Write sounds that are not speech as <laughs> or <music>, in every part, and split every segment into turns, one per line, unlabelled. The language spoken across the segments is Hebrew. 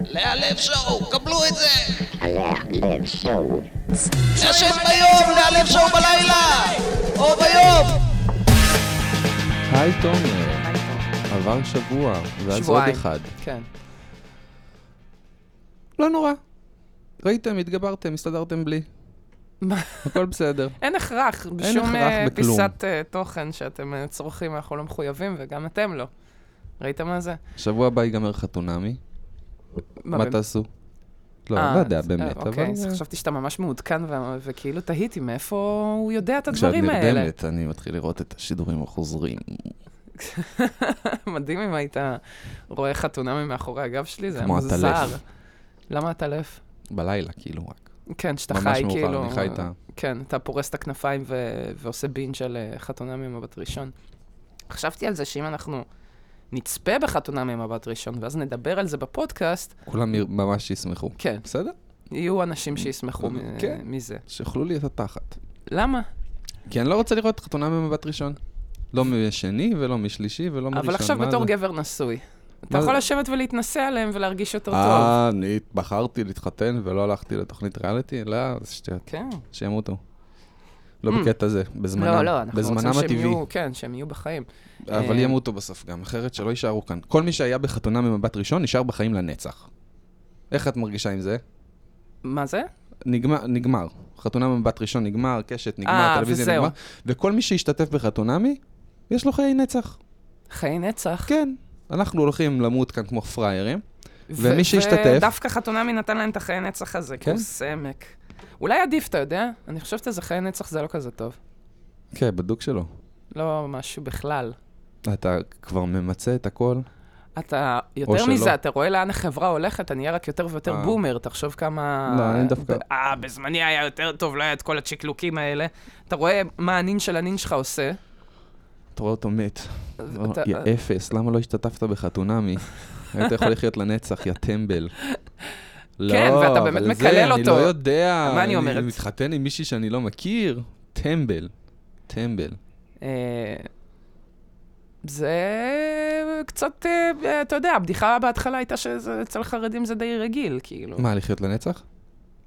להלב שואו, קבלו את זה!
הלב שואו.
לשם ביום, להלב שואו בלילה! או ביום!
היי תומר, עבר שבוע, ואז עוד
שבועיים.
אחד.
כן.
לא נורא. ראיתם, התגברתם, הסתדרתם בלי.
מה?
הכל בסדר.
<laughs> אין הכרח בשום
הכרח
אה,
בכלום.
פיסת אה, תוכן שאתם אה, צורכים, אנחנו לא מחויבים, וגם אתם לא. ראיתם מה זה?
שבוע הבא ייגמר חתונמי, מה תעשו? לא,
אה,
לא יודע
אז-
באמת,
אה,
אבל...
אוקיי, אז חשבתי שאתה ממש מעודכן, ו- וכאילו תהיתי מאיפה הוא יודע את
כשאת
הדברים האלה.
נרדמת, אני מתחיל לראות את השידורים החוזרים.
<laughs> מדהים אם היית רואה חתונה ממאחורי הגב שלי, זה היה
כמו
מוזר.
הטלף.
למה הטלף?
בלילה, כאילו, רק.
כן, שאתה
ממש
חי
מאוחר,
כאילו...
אני חי את ה...
כן, אתה פורס את הכנפיים ו- ועושה בינג' על אה, חתונה ממבט ראשון. חשבתי על זה שאם אנחנו נצפה בחתונה ממבט ראשון, ואז נדבר על זה בפודקאסט,
כולם יר- ממש ישמחו.
כן,
בסדר?
יהיו אנשים שישמחו מ-
כן.
מזה.
שיאכלו לי את התחת.
למה?
כי אני לא רוצה לראות חתונה ממבט ראשון. לא משני ולא משלישי ולא מראשון.
אבל עכשיו
מה
בתור
זה?
גבר נשוי. אתה
מה
יכול
זה?
לשבת ולהתנסה עליהם ולהרגיש יותר טוב.
אה, אני בחרתי להתחתן ולא הלכתי לתוכנית ריאליטי? לא, זה שטויות.
כן.
שימותו. לא
Mm.
בקטע זה, בזמנם.
לא, לא, אנחנו
בזמנם
רוצים שהם
הטבעי.
יהיו, כן, שהם יהיו בחיים.
אבל
אה.
ימותו בסוף גם, אחרת שלא יישארו כאן. כל מי שהיה בחתונה ממבט ראשון נשאר בחיים לנצח. איך את מרגישה עם זה?
מה זה?
נגמר, נגמר. חתונה ממבט ראשון נגמר, קשת נגמר,
אה,
טלוויזיה
וזהו.
נגמר. וכל מי שהשתתף בחתונמי, יש לו חיי נצח.
חיי נצח.
כן. אנחנו הולכים למות כאן כמו פראיירים.
ו-
ומי שהשתתף-
ודווקא חתונמי נתן להם את החיי נצח הזה,
כן.
כן? כוס עמק. אולי עדיף, אתה יודע? אני חושבת שזה חיי נצח זה לא כזה טוב.
כן, בדוק שלא.
לא משהו בכלל.
אתה כבר ממצה את הכל.
אתה,
או
יותר
שלא.
מזה, אתה רואה לאן החברה הולכת, אתה נהיה רק יותר ויותר
אה.
בומר, תחשוב כמה...
לא, אני דווקא-
אה, בזמני היה יותר טוב, לא היה את כל הצ'יקלוקים האלה. אתה רואה מה הנין של הנין שלך עושה.
אתה רואה אותו מת.
אתה-
יא אפס, למה לא השתתפת
<laughs>
בחתונמי? היית יכול לחיות לנצח, יא טמבל.
כן, ואתה באמת
אבל
מקלל
זה, אני
אותו.
לא יודע.
מה אני אומרת?
אני מתחתן עם מישהי שאני לא מכיר? טמבל. טמבל.
אה, זה קצת, אה, אתה יודע, הבדיחה בהתחלה הייתה שאצל חרדים זה די רגיל, כאילו.
מה, לחיות לנצח?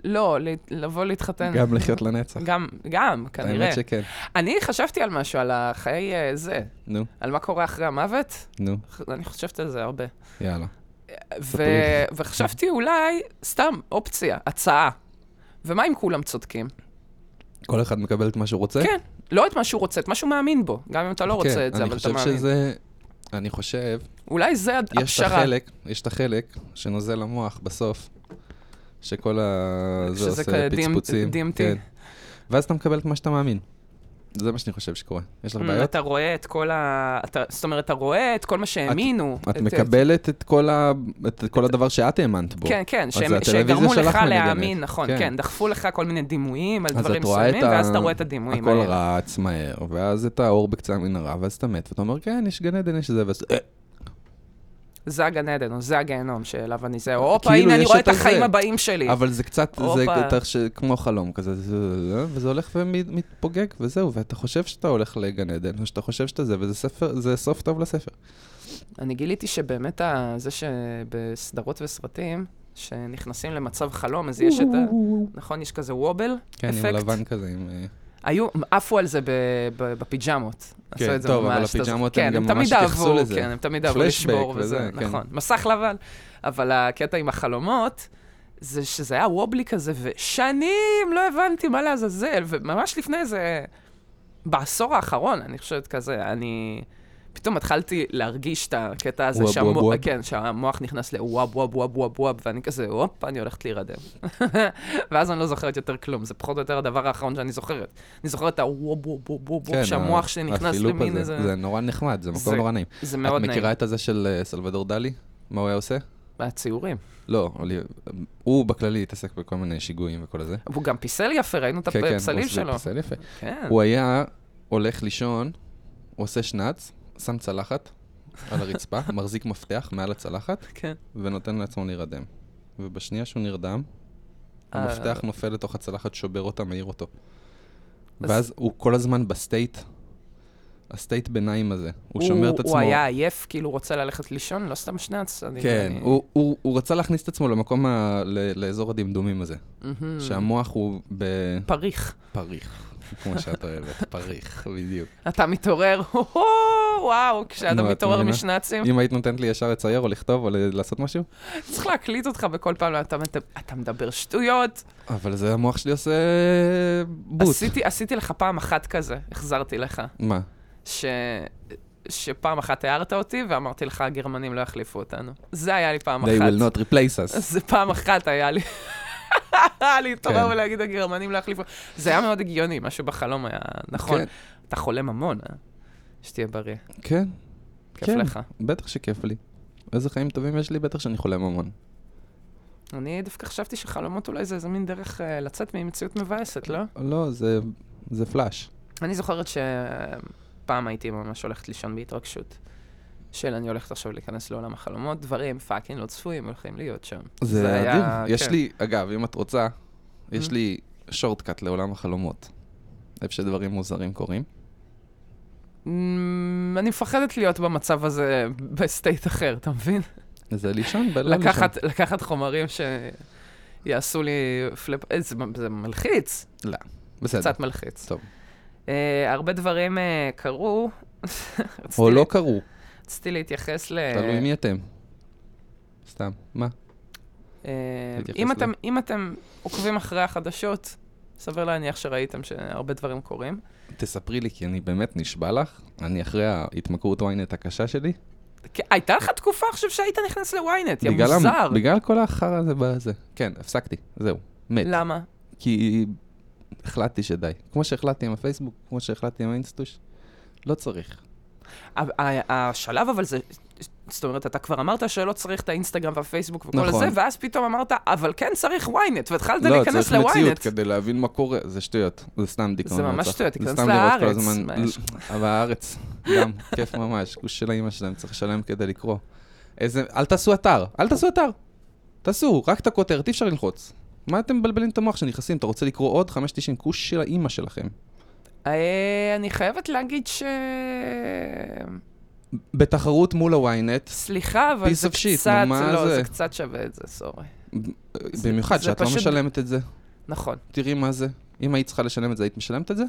לא, ל- לבוא להתחתן.
גם לחיות לנצח.
גם, גם, כנראה.
האמת שכן.
אני חשבתי על משהו, על החיי אה, זה,
נו,
על מה קורה אחרי המוות,
נו,
ח- אני חושבת על זה הרבה.
יאללה.
ו... וחשבתי אולי, סתם, אופציה, הצעה. ומה אם כולם צודקים?
כל אחד מקבל את מה שהוא רוצה?
כן, לא את מה שהוא רוצה, את מה שהוא מאמין בו. גם אם אתה לא רוצה את זה,
כן, אני
אבל אתה
חושב
מאמין.
שזה... אני חושב,
אולי זה הד-
יש את
הפשרה.
החלק, יש את החלק שנוזל למוח בסוף, שכל ה... זה
שזה
עושה
כזה דים-
פצפוצים.
DMT.
כן. ואז אתה מקבל את מה שאתה מאמין. זה מה שאני חושב שקורה. יש לך
Mm,
בעיות?
אתה רואה את כל ה... אתה- זאת אומרת, אתה רואה את כל מה שהאמינו.
את מקבלת את כל ה- את כל הדבר שאת האמנת בו.
כן, כן, שהם-
הטלוויזיה
שגרמו
שלך
לך
מגמד.
להאמין, נכון,
כן.
כן, דחפו לך כל מיני דימויים על
אז
דברים
את רואה את
מסוימים, ואז
ה-
אתה רואה את הדימויים
הכל
האלה.
רץ מהר, ואז את האור בקצה המנהרה, ואז אתה מת, ואתה אומר, כן, יש גן עדן, יש זה, ואז... "אה,
זה הגן עדן, או זה הגיהנום שאליו אני זה, או הופה,
כאילו,
הנה אני
יש
רואה
את
את החיים
הזה.
הבאים שלי.
אבל זה קצת, זה
אה, הופה.
יותר ש- כמו חלום כזה, זה- זה- זה- וזה הולך ומתפוגג, וזהו, ואתה חושב שאתה הולך לגן עדן, או שאתה חושב שאתה זה, וזה ספר, זה סוף טוב לספר.
אני גיליתי שבאמת ה- זה שבסדרות וסרטים, שנכנסים למצב חלום, אז יש את ה... נכון, יש כזה וובל
כן, עם
אפקט.
לבן כזה, עם... אה,
היו, עפו על זה ב- ב- בפיג'מות.
כן,
עשו את זה
טוב, אבל
ממש, אתה זוכר.
הפיג'מות הם
כן,
גם
תמיד
ממש התייחסו
אהבו,
לזה.
כן, הם תמיד אהבו
פלשבק
לשבור
וזה,
וזה,
כן.
נכון. מסך לבן. אבל הקטע עם החלומות, זה שזה היה וובלי כזה, ושנים לא הבנתי מה לעזאזל, וממש לפני איזה... בעשור האחרון, אני חושבת כזה, אני... פתאום התחלתי להרגיש את הקטע הזה,
וואב, וואב,
שהמו...
וואב.
כן, שהמוח נכנס לוואב, וואב, וואב, וואב, וואב, ואני כזה, הופ, אני הולכת להירדם. ואז אני לא זוכרת יותר כלום, זה פחות או יותר הדבר האחרון שאני זוכרת. אני זוכרת את הוואב, וואב, וואב, וואב,
כן,
וואב, שהמוח שלי נכנס
הפילוג
למין
הזה.
איזה...
זה נורא נחמד, זה מקום
זה-
נורא נעים.
זה מאוד
את
נעים.
מכירה את הזה של אה, סלבדור דלי? מה הוא היה עושה?
הציורים.
לא, אבל הוא בכללי התעסק בכל מיני שיגועים וכל הזה.
הוא גם פיסל יפה, ראינו את
כן, הוא
הפסלים
עושה
שלו.
פסל יפה.
כן.
הוא היה הולך לישון, עושה שנץ, שם צלחת על הרצפה, <laughs> מחזיק מפתח מעל הצלחת,
כן.
ונותן לעצמו להירדם. ובשנייה שהוא נרדם, המפתח
אה.
נופל לתוך הצלחת, שובר אותה, מעיר אותו.
אז-
ואז הוא כל הזמן בסטייט הסטייט ביניים הזה. הוא שומר את עצמו.
הוא היה עייף, כאילו רוצה ללכת לישון, לא סתם שני הצדדים.
כן,
אני-
הוא- הוא הוא רצה להכניס את עצמו למקום, ה- ל- לאזור הדמדומים הזה.
מהמם.
שהמוח הוא בפריך,
פריך.
<laughs> כמו שאת אוהבת, פריך,
<laughs>
בדיוק.
אתה מתעורר, הו-הו, וואו, כשאתה
נו, את
מתעורר
מבינה?
משנ"צים,
אם היית נותנת לי ישר לצייר או לכתוב או ל- לעשות משהו?
צריך להקליט אותך בכל פעם, אתה מת- אתה מדבר שטויות.
אבל זה המוח שלי עושה בוט.
עשיתי- עשיתי לך פעם אחת כזה, החזרתי לך,
מה?
ש... שפעם אחת הערת אותי ואמרתי לך, הגרמנים לא יחליפו אותנו. זה היה לי פעם
They
אחת.
will not replace us.
זה פעם אחת היה לי. <laughs> להתעורר
כן.
ולהגיד הגרמנים לא יחליפו. זה היה מאוד הגיוני, משהו בחלום היה נכון.
כן.
אתה חולם המון, אה? שתהיה בריא,
כן,
כיף
כן.
לך.
בטח שכיף לי. איזה חיים טובים יש לי, בטח שאני חולם המון.
אני דווקא חשבתי שחלומות אולי זה איזה מין דרך אה, לצאת ממציאות מבאסת, לא?
לא, זה- זה פלאש.
אני זוכרת שפעם הייתי ממש הולכת לישון בהתרגשות. של אני הולכת עכשיו להיכנס לעולם החלומות, דברים פאקינג לא צפויים הולכים להיות שם.
זה
היה-
אדיר. יש
כן.
לי, אגב, אם את רוצה, יש
Mm.
לי שורטקאט לעולם החלומות. איפה שדברים מוזרים קורים.
אמ, אני מפחדת להיות במצב הזה בסטייט אחר, אתה מבין?
זה לישון לא בלילה. לישון.
לקחת, לקחת חומרים שיעשו לי פלאפ... אה, זה, מ- זה מלחיץ,
בסדר.
קצת מלחיץ.
טוב.
Uh, הרבה דברים uh, קרו. <laughs> רציתי-
או לא קרו,
רציתי להתייחס ל...
תלוי מי אתם. סתם, מה?
Uh,
להתייחס
אם,
ל-
אתם, אם אתם עוקבים אחרי החדשות, סביר להניח שראיתם שהרבה דברים קורים.
תספרי לי, כי אני באמת נשבע לך, אני אחרי ההתמכרות ynet הקשה שלי.
כי הייתה לך תקופה עכשיו שהיית נכנס לוויינט, יא
בגלל המ-
מוזר.
בגלל כל החרא הזה בזה. כן, הפסקתי, זהו, מת.
למה?
כי החלטתי שדי. כמו שהחלטתי עם הפייסבוק, כמו שהחלטתי עם האינסטוש, לא צריך.
ה- ה- השלב אבל זה... זאת אומרת, אתה כבר אמרת שלא צריך את האינסטגרם והפייסבוק וכל
נכון.
הזה, ואז פתאום אמרת, אבל כן צריך ynet, והתחלת
לא,
להיכנס
צריך
לוויינט.
מציאות כדי להבין מה קורה. זה שטויות, זה סתם דיכאון.
זה ממש
רצח.
שטויות,
זה
תיכנס
סתם לראות כל
לארץ,
הזמן-
מה יש?
אבל הארץ, גם, כיף ממש. גוש של האימא שלהם, צריך לשלם כדי לקרוא. איזה, אל תעשו אתר, אל תעשו אתר. תעשו, רק את הכותרת, אי אפשר ללחוץ. מה אתם מבלבלים את המוח שנכנסים? אתה רוצה לקרוא עוד 5.90 גוש של האימא שלכם.
אה, אני חייבת להגיד ש...
בתחרות מול הוויינט,
סליחה, אבל
Piece
זה
of shit,
קצת...
נו, מה
לא,
זה?
זה קצת שווה את זה, סורי.
במיוחד
זה
שאת לא
פשוט-
משלמת את זה.
נכון.
תראי מה זה. אם היית צריכה לשלם את זה, היית משלמת את זה?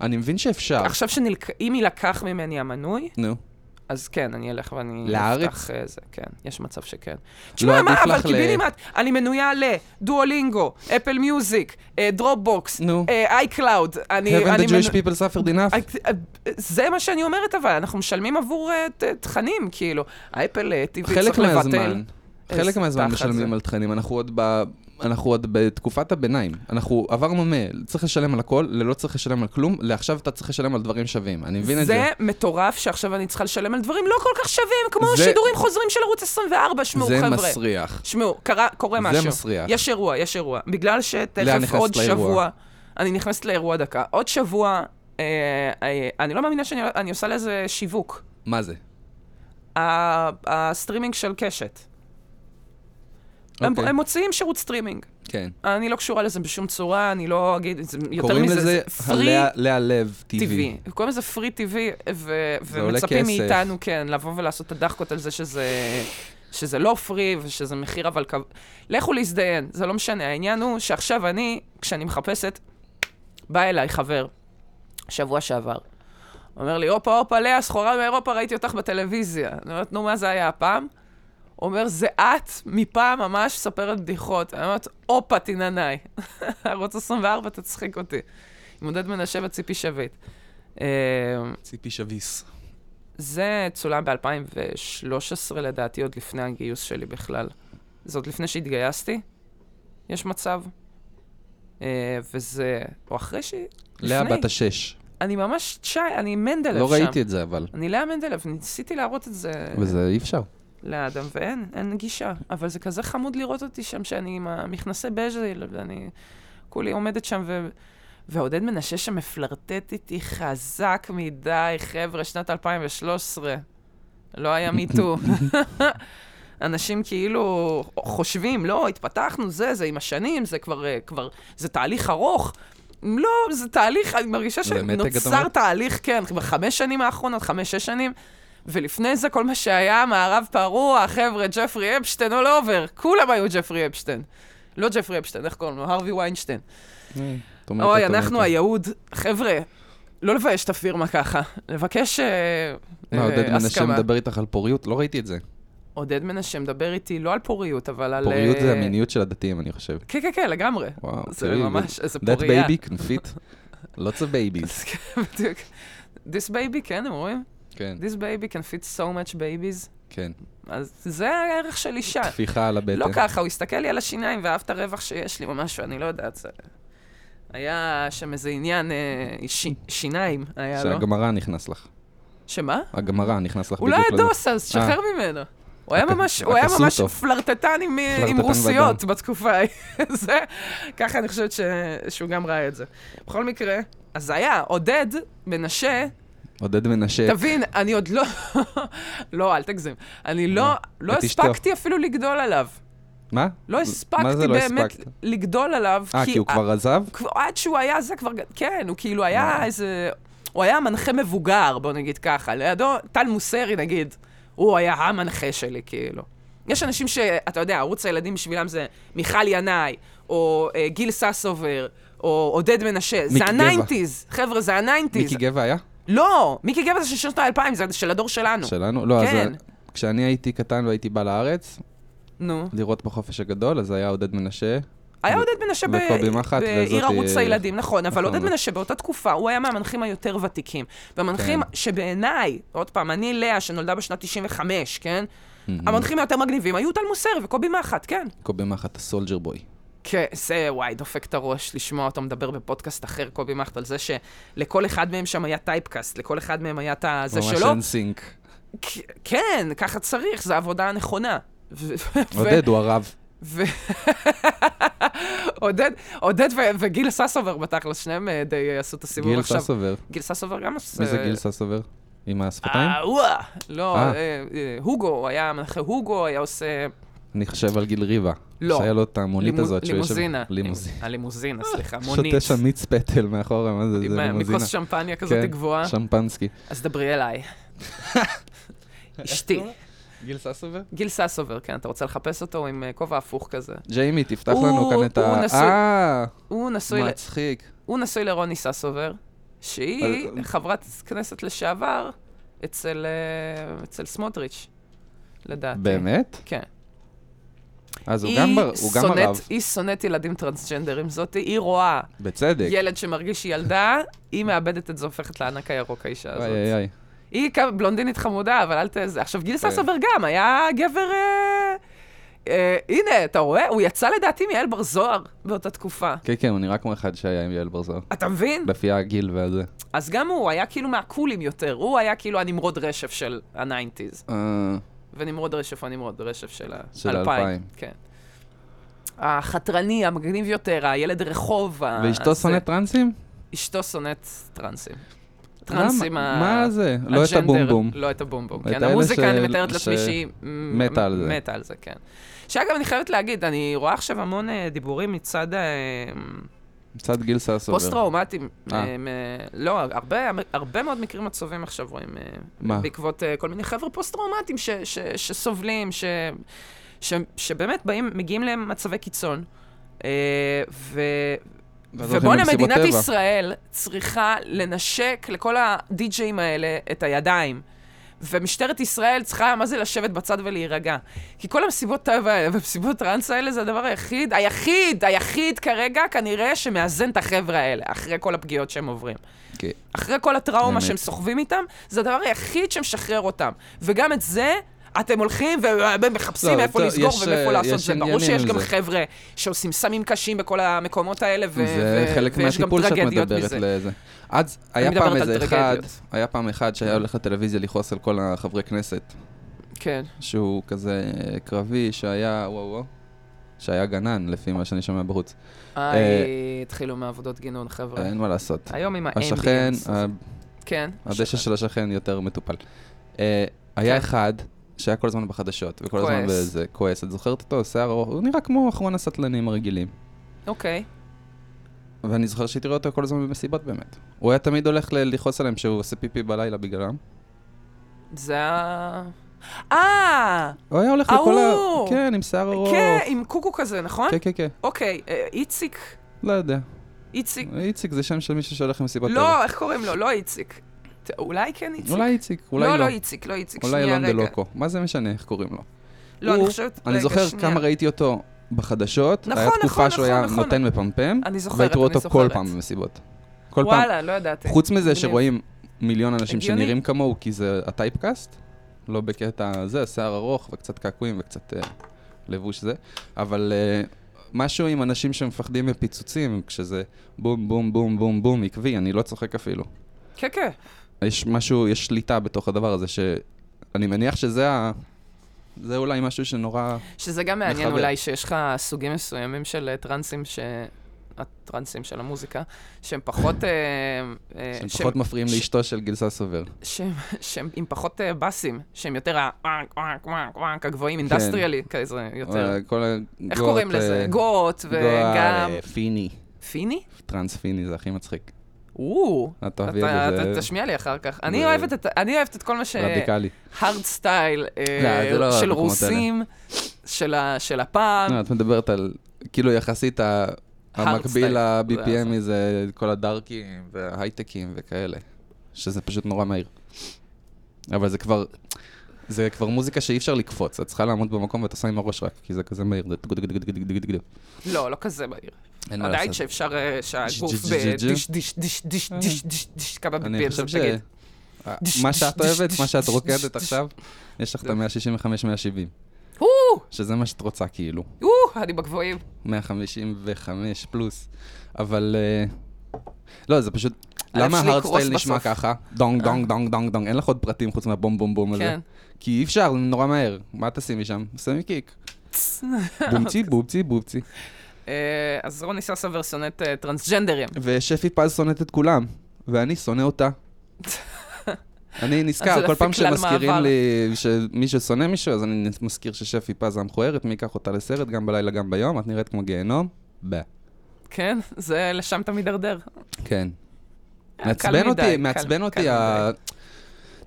אני מבין שאפשר.
עכשיו שאם יילקח ממני המנוי,
נו.
אז כן, אני אלך ואני...
לארץ? לא,
אפתח, אה, זה, כן, יש מצב שכן. תשמע,
עדיף
מה, אבל
לך ל-
קיבינימט, אני מנויה לדואלינגו, אפל מיוזיק, דרופ בוקס,
נו.
איי קלאוד, אה, אני...
Haven't
אני
the Jewish
מנ-
people suffered enough?
אה, אה, זה מה שאני אומרת, אבל אנחנו משלמים עבור אה, ת- תכנים, כאילו. האפל אה, TV
חלק
צריך לבטל.
מהזמן, חלק
איזה
מהזמן
תחת
משלמים
זה.
על תכנים, אנחנו עוד ב... אנחנו עוד בתקופת הביניים, אנחנו עברנו מ... צריך לשלם על הכל, ללא צריך לשלם על כלום, לעכשיו אתה צריך לשלם על דברים שווים, אני מבין את זה.
זה מטורף שעכשיו אני צריכה לשלם על דברים לא כל כך שווים, כמו
זה-
שידורים חוזרים של ערוץ 24, שמעו
זה
חבר'ה.
מסריח.
שמעו, קרה, קורה
זה
משהו.
מסריח.
יש אירוע, יש אירוע. בגלל
לאה,
שתכף
נכנסת
עוד
לאירוע.
שבוע... אני נכנסת לאירוע דקה. עוד שבוע, אה, אה, אני לא מאמינה שאני אני עושה לזה שיווק.
מה זה?
ה- הסטרימינג של קשת. הם
אוקיי.
הם מוציאים שירות סטרימינג.
כן.
אני לא קשורה לזה בשום צורה, אני לא אגיד, זה יותר
קוראים
מזה,
לזה
זה פרי
הלאה- לאה לב
טבעי.
TV.
קוראים לזה פרי טבעי, ו-
זה עולה
ומצפים
כסף.
מאיתנו, כן, לבוא ולעשות את הדחקות על זה שזה... שזה לא פרי ושזה מחיר אבל כב... לכו להזדיין, זה לא משנה. העניין הוא שעכשיו אני, כשאני מחפשת, בא אליי חבר, שבוע שעבר. אומר לי, הופה, הופה, לאה, סחורה מאירופה, ראיתי אותך בטלוויזיה. אני אומרת, נו, מה זה היה הפעם? אומר, זה את מפעם ממש מספרת בדיחות. אני אומרת, הופה, תינניי. <laughs> ערוץ 24, תצחיק אותי. עם עודד מנשה וציפי שביט. אה,
ציפי שביס.
זה צולם ב-2013 לדעתי, עוד לפני הגיוס שלי בכלל. זה עוד לפני שהתגייסתי, יש מצב. אה, וזה, או אחרי ש...
לאה
לפני. כן,
בת השש.
אני ממש צ'י, אני מנדלב שם.
לא ראיתי את זה אבל.
אני לאה מנדלב, ניסיתי להראות את זה
וזה אי אפשר.
לאדם, ואין, אין גישה. אבל זה כזה חמוד לראות אותי שם, שאני עם המכנסי בז'ל, ואני כולי עומדת שם, ו... ועודד מנשה שם מפלרטט איתי חזק מדי, חבר'ה, שנת 2013. לא היה
<laughs>
מיטו. אנשים כאילו חושבים, לא, התפתחנו, זה, זה עם השנים, זה כבר, אה, כבר, זה תהליך ארוך. לא, זה תהליך, אני מרגישה
זה מתג, אתה
שנוצר
אומר?
תהליך, כן, בחמש שנים האחרונות, חמש-שש שנים, ולפני זה כל מה שהיה, מערב פרוע, חבר'ה, ג'פרי אפשטיין all over, כולם היו ג'פרי אפשטיין. לא ג'פרי אפשטיין, איך קוראים לו? הרווי ויינשטיין.
אתה אומר,
אה. אוי,
אתה אומר,
אנחנו
אתה-
היהוד, חבר'ה, לא לבייש את הפירמה ככה, לבקש אה,
מה, עודד
אה,
מנשה
הסכמה.
מדבר איתך על פוריות? לא ראיתי את זה.
עודד מנשה מדבר איתי לא על פוריות, אבל על...
פוריות
אה,
זה המיניות של הדתיים, אני חושב.
כן, כן, כן, לגמרי.
וואו,
זה
תראי,
ממש, איזה
That
פוריה.
baby, כנפית. <laughs> Lots of
<laughs>
babies.
אז כן, בדיוק. This baby, כן, הם רואים?
כן,
This baby can fit so much babies.
כן.
אז זה הערך של אישה.
טפיחה על הבטן.
לא ככה, הוא הסתכל לי על השיניים ואהב את הרווח שיש לי או משהו, אני לא יודעת. זה- היה שם איזה עניין אה, ש- שיניים, היה לו.
שהגמרא נכנס לך.
שמה?
הגמרא נכנס לך
הוא לא היה
לזה. אה.
דוס אז, שחרר ממנו. הוא היה
רק-
ממש,
רק
הוא היה
עשו
ממש
אותו.
פלרטטן עם, עם
פלרטטן
רוסיות בתקופה ההיא. <laughs> זה, ככה אני חושבת ש, שהוא גם ראה את זה. בכל מקרה, אז זה היה, עודד, מנשה,
עודד מנשה.
תבין, אני עוד לא, <laughs> לא, אל תגזים, אני לא, לא
את אשתו.
הספקתי אפילו לגדול עליו.
מה?
לא
מה
הספקתי
זה לא
באמת
הספקת?
לגדול עליו.
אה, כי הוא כבר עזב?
כבר- עד שהוא היה זה כבר, כן, הוא כאילו היה
אה.
איזה, הוא היה מנחה מבוגר, בוא נגיד ככה. לידו, טל מוסרי נגיד, הוא היה המנחה שלי, כאילו. יש אנשים שאתה יודע, ערוץ הילדים בשבילם זה מיכל ינאי, או אה, גיל ססובר, או עודד מנשה. זה
מיקי גבע.
הניינטיז, חבר'ה, זה הניינטיז.
מיקי גבע היה?
לא, מיקי גבע זה של שנות האלפיים, זה של הדור שלנו.
שלנו? לא, אז
כן.
כשאני הייתי קטן והייתי בא לארץ,
נו.
לראות בחופש הגדול, אז היה עודד מנשה.
היה
ו-
עודד מנשה ב-
וקובי מחט,
בעיר
וזאת,
ערוץ
אה,
הילדים, נכון, אבל
נכון.
עודד מנשה באותה תקופה, הוא היה מהמנחים היותר ותיקים. והמנחים
כן.
שבעיניי, עוד פעם, אני לאה, שנולדה בשנת 95, כן?
Mm.
המנחים היותר מגניבים היו טל מוסרי וקובי מחט, כן.
קובי מחט, הסולג'ר בוי.
כן, זה, וואי, דופק את הראש לשמוע אותו מדבר בפודקאסט אחר, קובי מחט, על זה שלכל אחד מהם שם היה טייפקאסט, לכל אחד מהם היה את הזה
ממש
שלו.
אין סינק.
כ- כן, ככה צריך, זו העבודה הנכונה. ו- ו-
עודד הוא הרב.
ו... עודד, עודד ו- וגיל ססובר בתכלס, שניהם אה, די אה, עשו את הסיבוב
גיל
עכשיו.
ססובר.
גיל ססובר גם עושה...
מי זה גיל ססובר? עם השפתיים?
אה, וואה. לא,
אה.
אה, אה, הוגו, היה מנחה הוגו, היה עושה...
אני חושב על גיל ריבה.
לא.
שהיה לו את המונית
לימו-
הזאת. שהוא יושב-
לימוזינה.
לימוזינה.
הלימוזינה,
<laughs>
סליחה, מונית.
שותה שם מיץ פטל מאחורה, מה זה? זה
עם, אה,
לימוזינה.
מכוס שמפניה כזאת
כן,
גבוהה.
שמפנסקי.
אז
<laughs>
דברי אליי. אשתי.
גיל ססובר?
גיל ססובר, כן, אתה רוצה לחפש אותו הוא עם אה, כובע הפוך כזה.
ג'יימי, תפתח
הוא-
לנו כאן את
הוא
ה...
נשוי-
אה,
הוא נשוי... ל- אוקיי.
מצחיק.
הוא נשוי לרוני ססובר, שהיא
אז-
חברת כנסת לשעבר אצל, אה, אצל סמוטריץ', לדעתי.
באמת?
כן.
אז הוא
היא
גם בר- הוא גם
שונאת-
הרב.
היא שונאת ילדים טרנסג'נדרים זאתי, היא רואה
בצדק.
ילד שמרגיש שהיא ילדה, היא מאבדת את זה, הופכת לענק הירוק, האישה הזאת.
איי, איי, איי.
היא כ- בלונדינית חמודה, אבל אל ת... זה- עכשיו, גיל
כן.
ססובר גם היה גבר... אה, אה, הנה, אתה רואה? הוא יצא לדעתי מיעל בר זוהר באותה תקופה.
כן, כן, הוא נראה כמו אחד שהיה עם יעל בר זוהר.
אתה מבין?
לפי הגיל והזה.
אז גם הוא היה כאילו מהקולים יותר, הוא היה כאילו הנמרוד רשף של הניינטיז.
אה,
ונמרוד רשף הוא הנמרוד רשף של ה-
של
האלפיים.
האלפיים.
כן. החתרני, המגניב יותר, הילד רחוב. ה-
ואשתו
זה-
שונאת טרנסים?
אשתו שונאת טרנסים. טרנסים
למה?
ה...
מה זה? לא את
הג'נדר-
הבומבום.
לא את הבומבום,
את
כן.
האלה
המוזיקה, אני
של-
מתארת לעצמי
ש-
שהיא... מ-
מתה על זה.
מתה על זה, כן. שאגב, אני חייבת להגיד, אני רואה עכשיו המון אה, דיבורים מצד... אה,
מצד גיל ססובר.
פוסט-טראומטיים.
אה.
הם, אה, לא, הרבה, הרבה מאוד מקרים עצובים עכשיו רואים. אה,
מה?
בעקבות אה, כל מיני חבר'ה פוסט-טראומטיים ש- ש- שסובלים, ש- ש- שבאמת באים, מגיעים למצבי קיצון. אה, ו...
ואז הולכים
ובואנה,
למסיבות
מדינת
טבע.
ישראל צריכה לנשק לכל הדי-ג'אים האלה את הידיים. ומשטרת ישראל צריכה, מה זה לשבת בצד ולהירגע? כי כל המסיבות טבע האלה ומסיבות טראנס האלה זה הדבר היחיד, היחיד, היחיד כרגע, כנראה שמאזן את החבר'ה האלה, אחרי כל הפגיעות שהם עוברים.
כן.
אחרי כל הטראומה
באמת.
שהם סוחבים איתם, זה הדבר היחיד שמשחרר אותם. וגם את זה... אתם הולכים ומחפשים
לא,
איפה
טוב,
לסגור
יש,
ומאיפה
אה,
לעשות.
יש
זה ברור
עניינים
שיש
עם
גם
זה.
חבר'ה שעושים סמים קשים בכל המקומות האלה, ו-
זה
ו-
חלק
ויש גם
מהטיפול שאת
טרגדיות
מדברת
מזה.
לזה. אז היה
מדברת
פעם
על
איזה אחד,
טרגדיות.
היה פעם אחד שהיה הולך לטלוויזיה לכעוס על כל החברי כנסת,
כן.
שהוא כזה אה, קרבי, שהיה, וואו וואו, שהיה גנן, לפי מה שאני שומע בחוץ. אה,
איי, התחילו מעבודות גינון, חבר'ה.
אין מה לעשות.
היום עם
אה, השכן, אה,
האמביאנס.
ה-
כן.
הדשא של השכן יותר מטופל. אה, היה אחד שהיה כל הזמן בחדשות, וכל הזמן
כן. כועס.
בזה, כועס. את זוכרת אותו? שיער ארוך, הוא נראה כמו אחרון הסטלנים הרגילים.
אוקיי.
ואני זוכר שהייתי רואה אותו כל הזמן במסיבות באמת. הוא היה תמיד הולך ל- לכעוס עליהם שהוא עושה פיפי בלילה בגללם.
זה ה... אה!
הוא היה הולך לכל ה...
ההוא!
כן, עם שיער ארוך.
כן, עם קוקו כזה, נכון?
כן, כן, כן.
אוקיי, אה, איציק,
לא יודע.
איציק.
איציק זה שם של מישהו שהולך למסיבת ערב.
לא, איך קוראים לו? לא איציק. ת- אולי כן איציק?
אולי איציק, אולי
לא,
לא.
לא איציק, לא איציק.
אולי
שנייה,
אילון דה
רגע.
לוקו. מה זה משנה איך קוראים לו?
לא, אני
הוא-
חושבת...
אני
רגע,
זוכר
שנייה.
כמה ראיתי אותו בחדשות.
נכון,
היה
נכון,
תקופה שהוא היה
נכון, נכון.
נותן ופמפם.
אני זוכרת,
והייתי רואה
אני
אותו כל
זוכרת.
פעם במסיבות. כל פעם.
וואלה, לא ידעתי.
חוץ מזה
מגניב.
שרואים מיליון אנשים
הגיוני.
שנראים כמוהו, כי זה הטייפקאסט, לא בקטע זה, שיער ארוך וקצת קעקועים וקצת אה, לבוש זה, אבל אה, משהו עם אנשים שמפחדים מפיצוצים, כשזה בום בום בום בום בום עקבי, אני לא צוחק אפילו.
כן, כן.
יש משהו, יש שליטה בתוך הדבר הזה, שאני מניח שזה ה... זה אולי משהו שנורא...
שזה גם מעניין
מחבר.
אולי שיש לך סוגים מסוימים של אה, טרנסים ש... הטרנסים של המוזיקה, שהם פחות... אה, אה,
שהם
שהם-
פחות מפריעים
ש-
לאשתו של גילסה סובר.
שהם, שהם עם פחות אה, באסים, שהם יותר ה... וואנק, וואנק, וואנק, וואנק, הגבוהים, אינדסטריאלי, כזה יותר.
כן. אה, כל
איך
הגוט,
קוראים
אה,
לזה? גוט וגם...
גוט, אה, פיני.
פיני?
טרנס פיני זה הכי מצחיק.
או,
את תאהבי
אתה
את זה,
אתה
זה
תשמיע לי אחר כך. אני
זה-
אוהבת את- אני אוהבת את כל מה ש...
רדיקלי.
הארד סטייל אה,
לא, זה לא
של
במקומות
רוסים, של ה- של הפעם.
לא, את מדברת על, כאילו יחסית ה-
style.
המקביל
זה
ל-BPM זה כל הדארקים וההייטקים וכאלה, שזה פשוט נורא מהיר. אבל זה כבר, זה כבר מוזיקה שאי אפשר לקפוץ, את צריכה לעמוד במקום ואת עושה עם הראש רק, כי זה כזה מהיר, זה טגודגודגודגודגודגוד.
לא, לא כזה מהיר.
אין מה
עדיין
לעשות.
שאפשר אה, שהגוף
ג'- ג'- ג'- ג'-
בדיש, דיש, דיש, דיש, דיש, דיש, דיש, כמה
אני
ביפלס,
חושב ש...
תגיד.
מה שאת אוהבת, מה
<laughs>
שאת רוקדת עכשיו, יש לך את
זה-
ה-165-170,
הו,
שזה מה שאת רוצה כאילו.
הו, אני בגבוהים.
155 פלוס, אבל... אה, לא, זה פשוט...
הלב
למה
שלי
ההארדסטייל
יקרוס
נשמע
בסוף. אה.
ככה? דונג, דונג, דונג, דונג, דונג, אין לך עוד פרטים חוץ מהבום בום בום הזה.
כן.
כי אי אפשר, זה נורא מהר. מה תשימי שם? שמים
<laughs>
קיק. בומצי, בומצי, בומצי.
אה, אז רוני ססה ורסונט אה, טרנסג'נדרים.
ושפי פז שונאת את כולם, ואני שונא
<laughs>
אותה. אני
אז זה
נזכר, כל
לפי
פעם
כלל
שמזכירים
מעבר.
לי שמישהו שונא מישהו, אז אני מזכיר ששפי פז המכוערת, מי ייקח אותה לסרט, גם בלילה, גם ביום, את נראית כמו גיהנום. ב.
כן, זה לשם אתה מידרדר.
כן.
אה, קל
מעצבן
מדי,
אותי,
קל-
מעצבן
קל
אותי
מדי.
ה...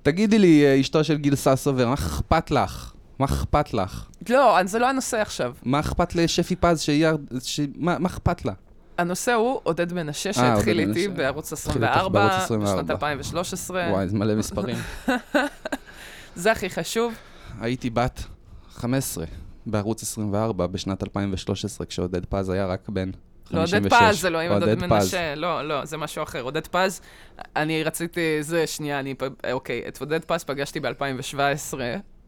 תגידי לי, אה, אשתו של גיל ססובר, מה אכפת לך? מה אכפת לך?
לא, אז זה לא הנושא עכשיו.
מה אכפת לשפי פז שהיא... הר- ש... מה, מה אכפת לה?
הנושא הוא עודד מנשה
אה,
שהתחיל
עודד
איתי
מנשה.
בערוץ
התחיל איתך
24,
בערוץ 24.
בשנת 2013.
וואי, זה מלא מספרים. <laughs>
זה הכי חשוב.
הייתי בת 15 בערוץ 24 בשנת 2013, כשעודד פז היה רק בן
לא,
56.
עודד פז, זה לא עם עודד
פז.
מנשה, לא, לא, זה משהו אחר. עודד פז, אני רציתי, זה, שנייה, אני, פ- אה, אוקיי, את עודד פז פגשתי ב-2017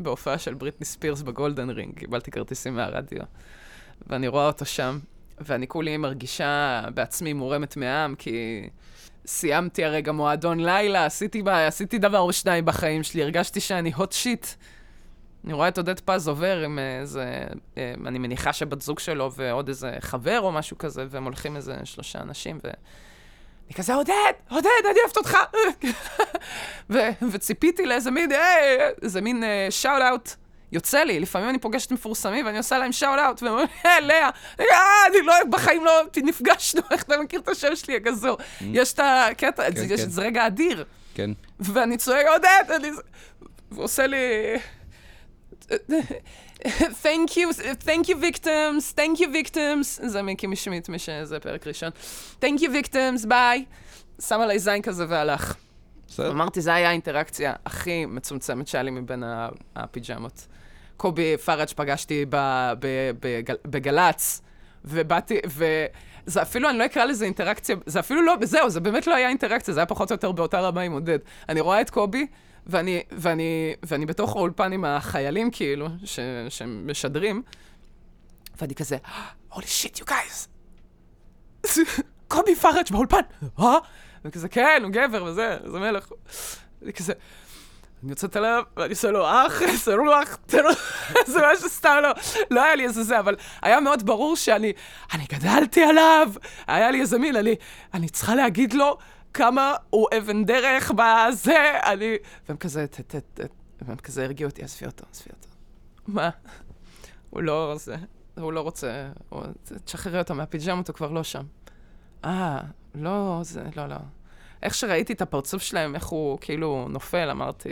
בהופעה של בריטני ספירס בגולדן רינג, קיבלתי כרטיסים מהרדיו, ואני רואה אותו שם, ואני כולי מרגישה בעצמי מורמת מעם, כי סיימתי הרגע מועדון לילה, עשיתי, בה- עשיתי דבר או שניים בחיים שלי, הרגשתי שאני hot shit. אני רואה את עודד פז עובר עם איזה, אה, אני מניחה שבת זוג שלו ועוד איזה חבר או משהו כזה, והם הולכים איזה שלושה אנשים, ואני כזה, עודד, עודד, אני אוהבת אותך! ו- וציפיתי לאיזה מין, היי, איזה מין שאול אאוט. יוצא לי, לפעמים אני פוגשת מפורסמים ואני עושה להם שאול אאוט, והם אומרים, אה, לאה, אה, אני לא, בחיים לא נפגשנו, איך אתה מכיר את השם שלי הכזו? יש את הקטע, זה- יש-
Mm. כן.
זה רגע אדיר.
כן.
ואני צועק, עודד, אני... והוא עושה לי... Thank you, thank you victims, thank you victims, זה מיקי משמיט, מי שזה פרק ראשון. Thank you victims, ביי. שם עליי זין כזה והלך.
בסדר?
אמרתי, זו הייתה האינטראקציה הכי מצומצמת שהיה לי מבין ה- הפיג'מות. קובי פראג' פגשתי ב- ב- בגל- בגל"צ, ובאתי, וזה אפילו, אני לא אקרא לזה אינטראקציה, זה אפילו לא, זהו, זה באמת לא היה אינטראקציה, זה היה פחות או יותר באותה רמה עם עודד. אני רואה את קובי, ואני, ואני, ואני בתוך האולפן עם החיילים, כאילו, ש- שמשדרים, ואני כזה, הולי שיט, you guys, קובי פראג' באולפן, אה? וכזה, כן, הוא גבר וזה, זה מלך. אני כזה, אני יוצאת עליו, ואני עושה לו אח, עושה לו אח, תן לו, זה משהו סתם לא, לא היה לי איזה זה, אבל היה מאוד ברור שאני, אני גדלתי עליו, היה לי איזה מין, אני, אני צריכה להגיד לו כמה הוא אבן דרך בזה, אני, והם כזה, ת, ת, ת, והם כזה הרגיעו אותי, עזבי אותו, עזבי אותו. מה? הוא לא זה, הוא לא רוצה, הוא, תשחררי אותו מהפיג'מות, הוא כבר לא שם. אה, לא, זה, לא, לא. איך שראיתי את הפרצוף שלהם, איך הוא כאילו נופל, אמרתי,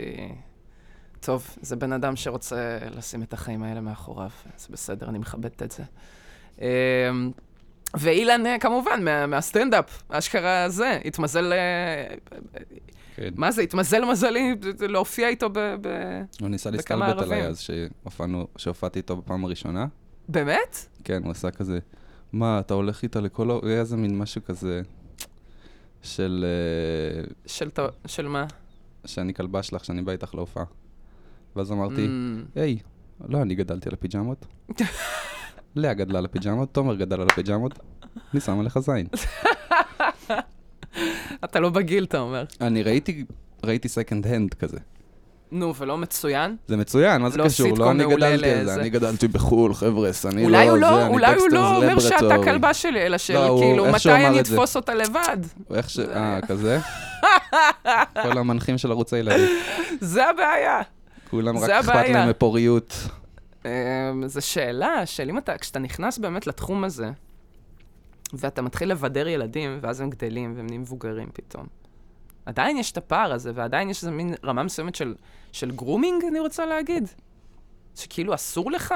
טוב, זה בן אדם שרוצה לשים את החיים האלה מאחוריו, זה בסדר, אני מכבדת את זה. אמ, ואילן, אה, כמובן, מה, מהסטנדאפ, אשכרה זה, התמזל, אה,
כן.
מה זה, התמזל מזלי להופיע איתו ב... ב...
הוא ניסה
וכמה
להסתלבט עליי
ערבים.
אז שהופענו- שהופעתי איתו בפעם הראשונה.
באמת?
כן, הוא עשה כזה, מה, אתה הולך איתה לכל ה... היה איזה מין משהו כזה של... אה,
של, ת- של מה?
שאני כלבה שלך, שאני בא איתך להופעה. ואז אמרתי,
אמ,
היי, לא אני גדלתי על
<laughs>
הפיג'מות. לאה גדלה על הפיג'מות, תומר גדל על הפיג'מות, אני שם עליך זין.
אתה לא בגיל, אתה אומר.
אני ראיתי, ראיתי סקנד הנד כזה.
נו, ולא מצוין?
זה מצוין, מה זה
לא
קשור?
סיטקום
לא אני
מעולה
גדלתי על
לאיזה-
זה, אני גדלתי בחו"ל, חבר'ה, אני לא
אולי הוא
זה,
לא,
אני
אולי הוא
דקסטר
לא אומר
זלברט
שאתה
אוהב.
כלבה שלי, אלא של
לא, הוא-
כאילו,
איך שהוא
מתי
אמר
אני
את זה.
אתפוס אותה לבד? <laughs>
איך ש... אה, כזה? כל המנחים של ערוץ הילדים.
זה הבעיה.
כולם רק
זה
אכפת
הבעיה.
להם מפוריות.
אמ, זו שאלה של אם אתה, כשאתה נכנס באמת לתחום הזה, ואתה מתחיל לבדר ילדים, ואז הם גדלים והם נהיים מבוגרים פתאום. עדיין יש את הפער הזה, ועדיין יש איזה מין רמה מסוימת של, של גרומינג, אני רוצה להגיד. שכאילו אסור לך?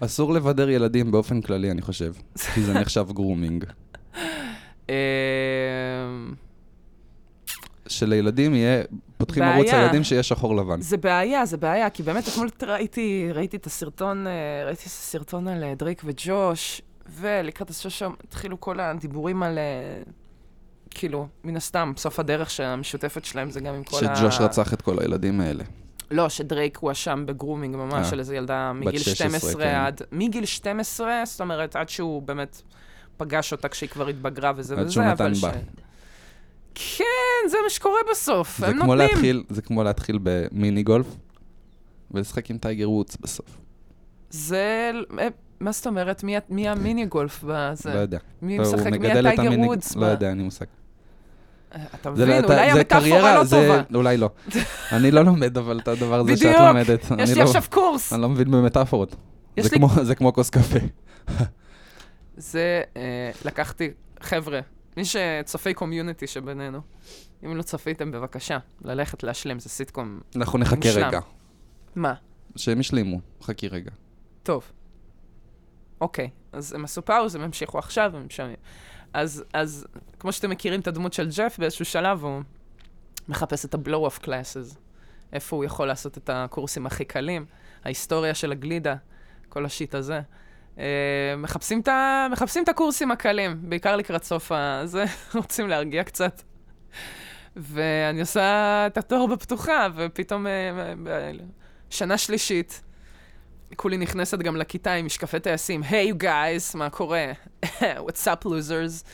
אסור לבדר ילדים באופן כללי, אני חושב, כי זה נחשב גרומינג.
אמ,
שלילדים יהיה, פותחים
בעיה.
ערוץ הילדים שיהיה שחור לבן.
זה בעיה, זה בעיה, כי באמת אתמול ראיתי, ראיתי את הסרטון, אה, ראיתי את הסרטון על אה, דרייק וג'וש, ולקראת הסוף שם התחילו כל הדיבורים על, אה, כאילו, מן הסתם, סוף הדרך שהמשותפת שלהם זה גם עם כל ה...
שג'וש רצח את כל הילדים האלה.
לא, שדרייק הואשם בגרומינג ממש
אה,
של איזו ילדה מגיל
16,
12
כן.
עד... מגיל 12, זאת אומרת, עד שהוא באמת פגש אותה כשהיא כבר התבגרה וזה
עד
וזה,
שהוא נתן
אבל
בה.
כן, זה מה שקורה בסוף,
זה
הם
כמו
נותנים.
להתחיל, זה כמו להתחיל במיני גולף, ולשחק עם טייגר וודס בסוף.
זה... אה, מה זאת אומרת? מי, ה- מי המיני גולף בזה?
לא יודע.
מי
לא, הוא
משחק? מי
מגדל את
הטייגר
המיני-
וודס?
לא
ב-
יודע, אין לי מושג.
אה, אתה
זה לא-
מבין,
אתה-
אולי
זה
המטאפורה
קריירה,
לא
זה-
טובה.
אולי
<laughs>
לא. אני לא לומד, אבל את הדבר הזה שאת
בדיוק.
לומדת.
יש
אני
לי
לא-
עכשיו קורס.
אני לא מבין במטאפורות.
יש
זה
לי-
כמו- זה כמו כוס קפה. לא-
זה אה, לקחתי, חבר'ה, מי שצופי קומיוניטי שבינינו, אם לא צפיתם, בבקשה, ללכת להשלים, זה סיטקום.
אנחנו נחכה
מושלם.
רגע.
מה?
שהם ישלימו, חכי רגע.
טוב. אוקיי, אז הם עשו פאוז, הם המשיכו עכשיו, הם שומעים. אז, אז כמו שאתם מכירים את הדמות של ג'ף, באיזשהו שלב הוא מחפש את ה-blow-off classes, איפה הוא יכול לעשות את הקורסים הכי קלים, ההיסטוריה של הגלידה, כל השיט הזה. אה, מחפשים את, ה... מחפשים את הקורסים הקלים, בעיקר לקראת סוף ה... זה, <laughs> רוצים להרגיע קצת. ואני עושה את התואר בפתוחה, ופתאום אה, אה, אה, שנה שלישית, כולי נכנסת גם לכיתה עם משקפי טייסים, היי hey, you guys, מה קורה? <laughs> What's up losers?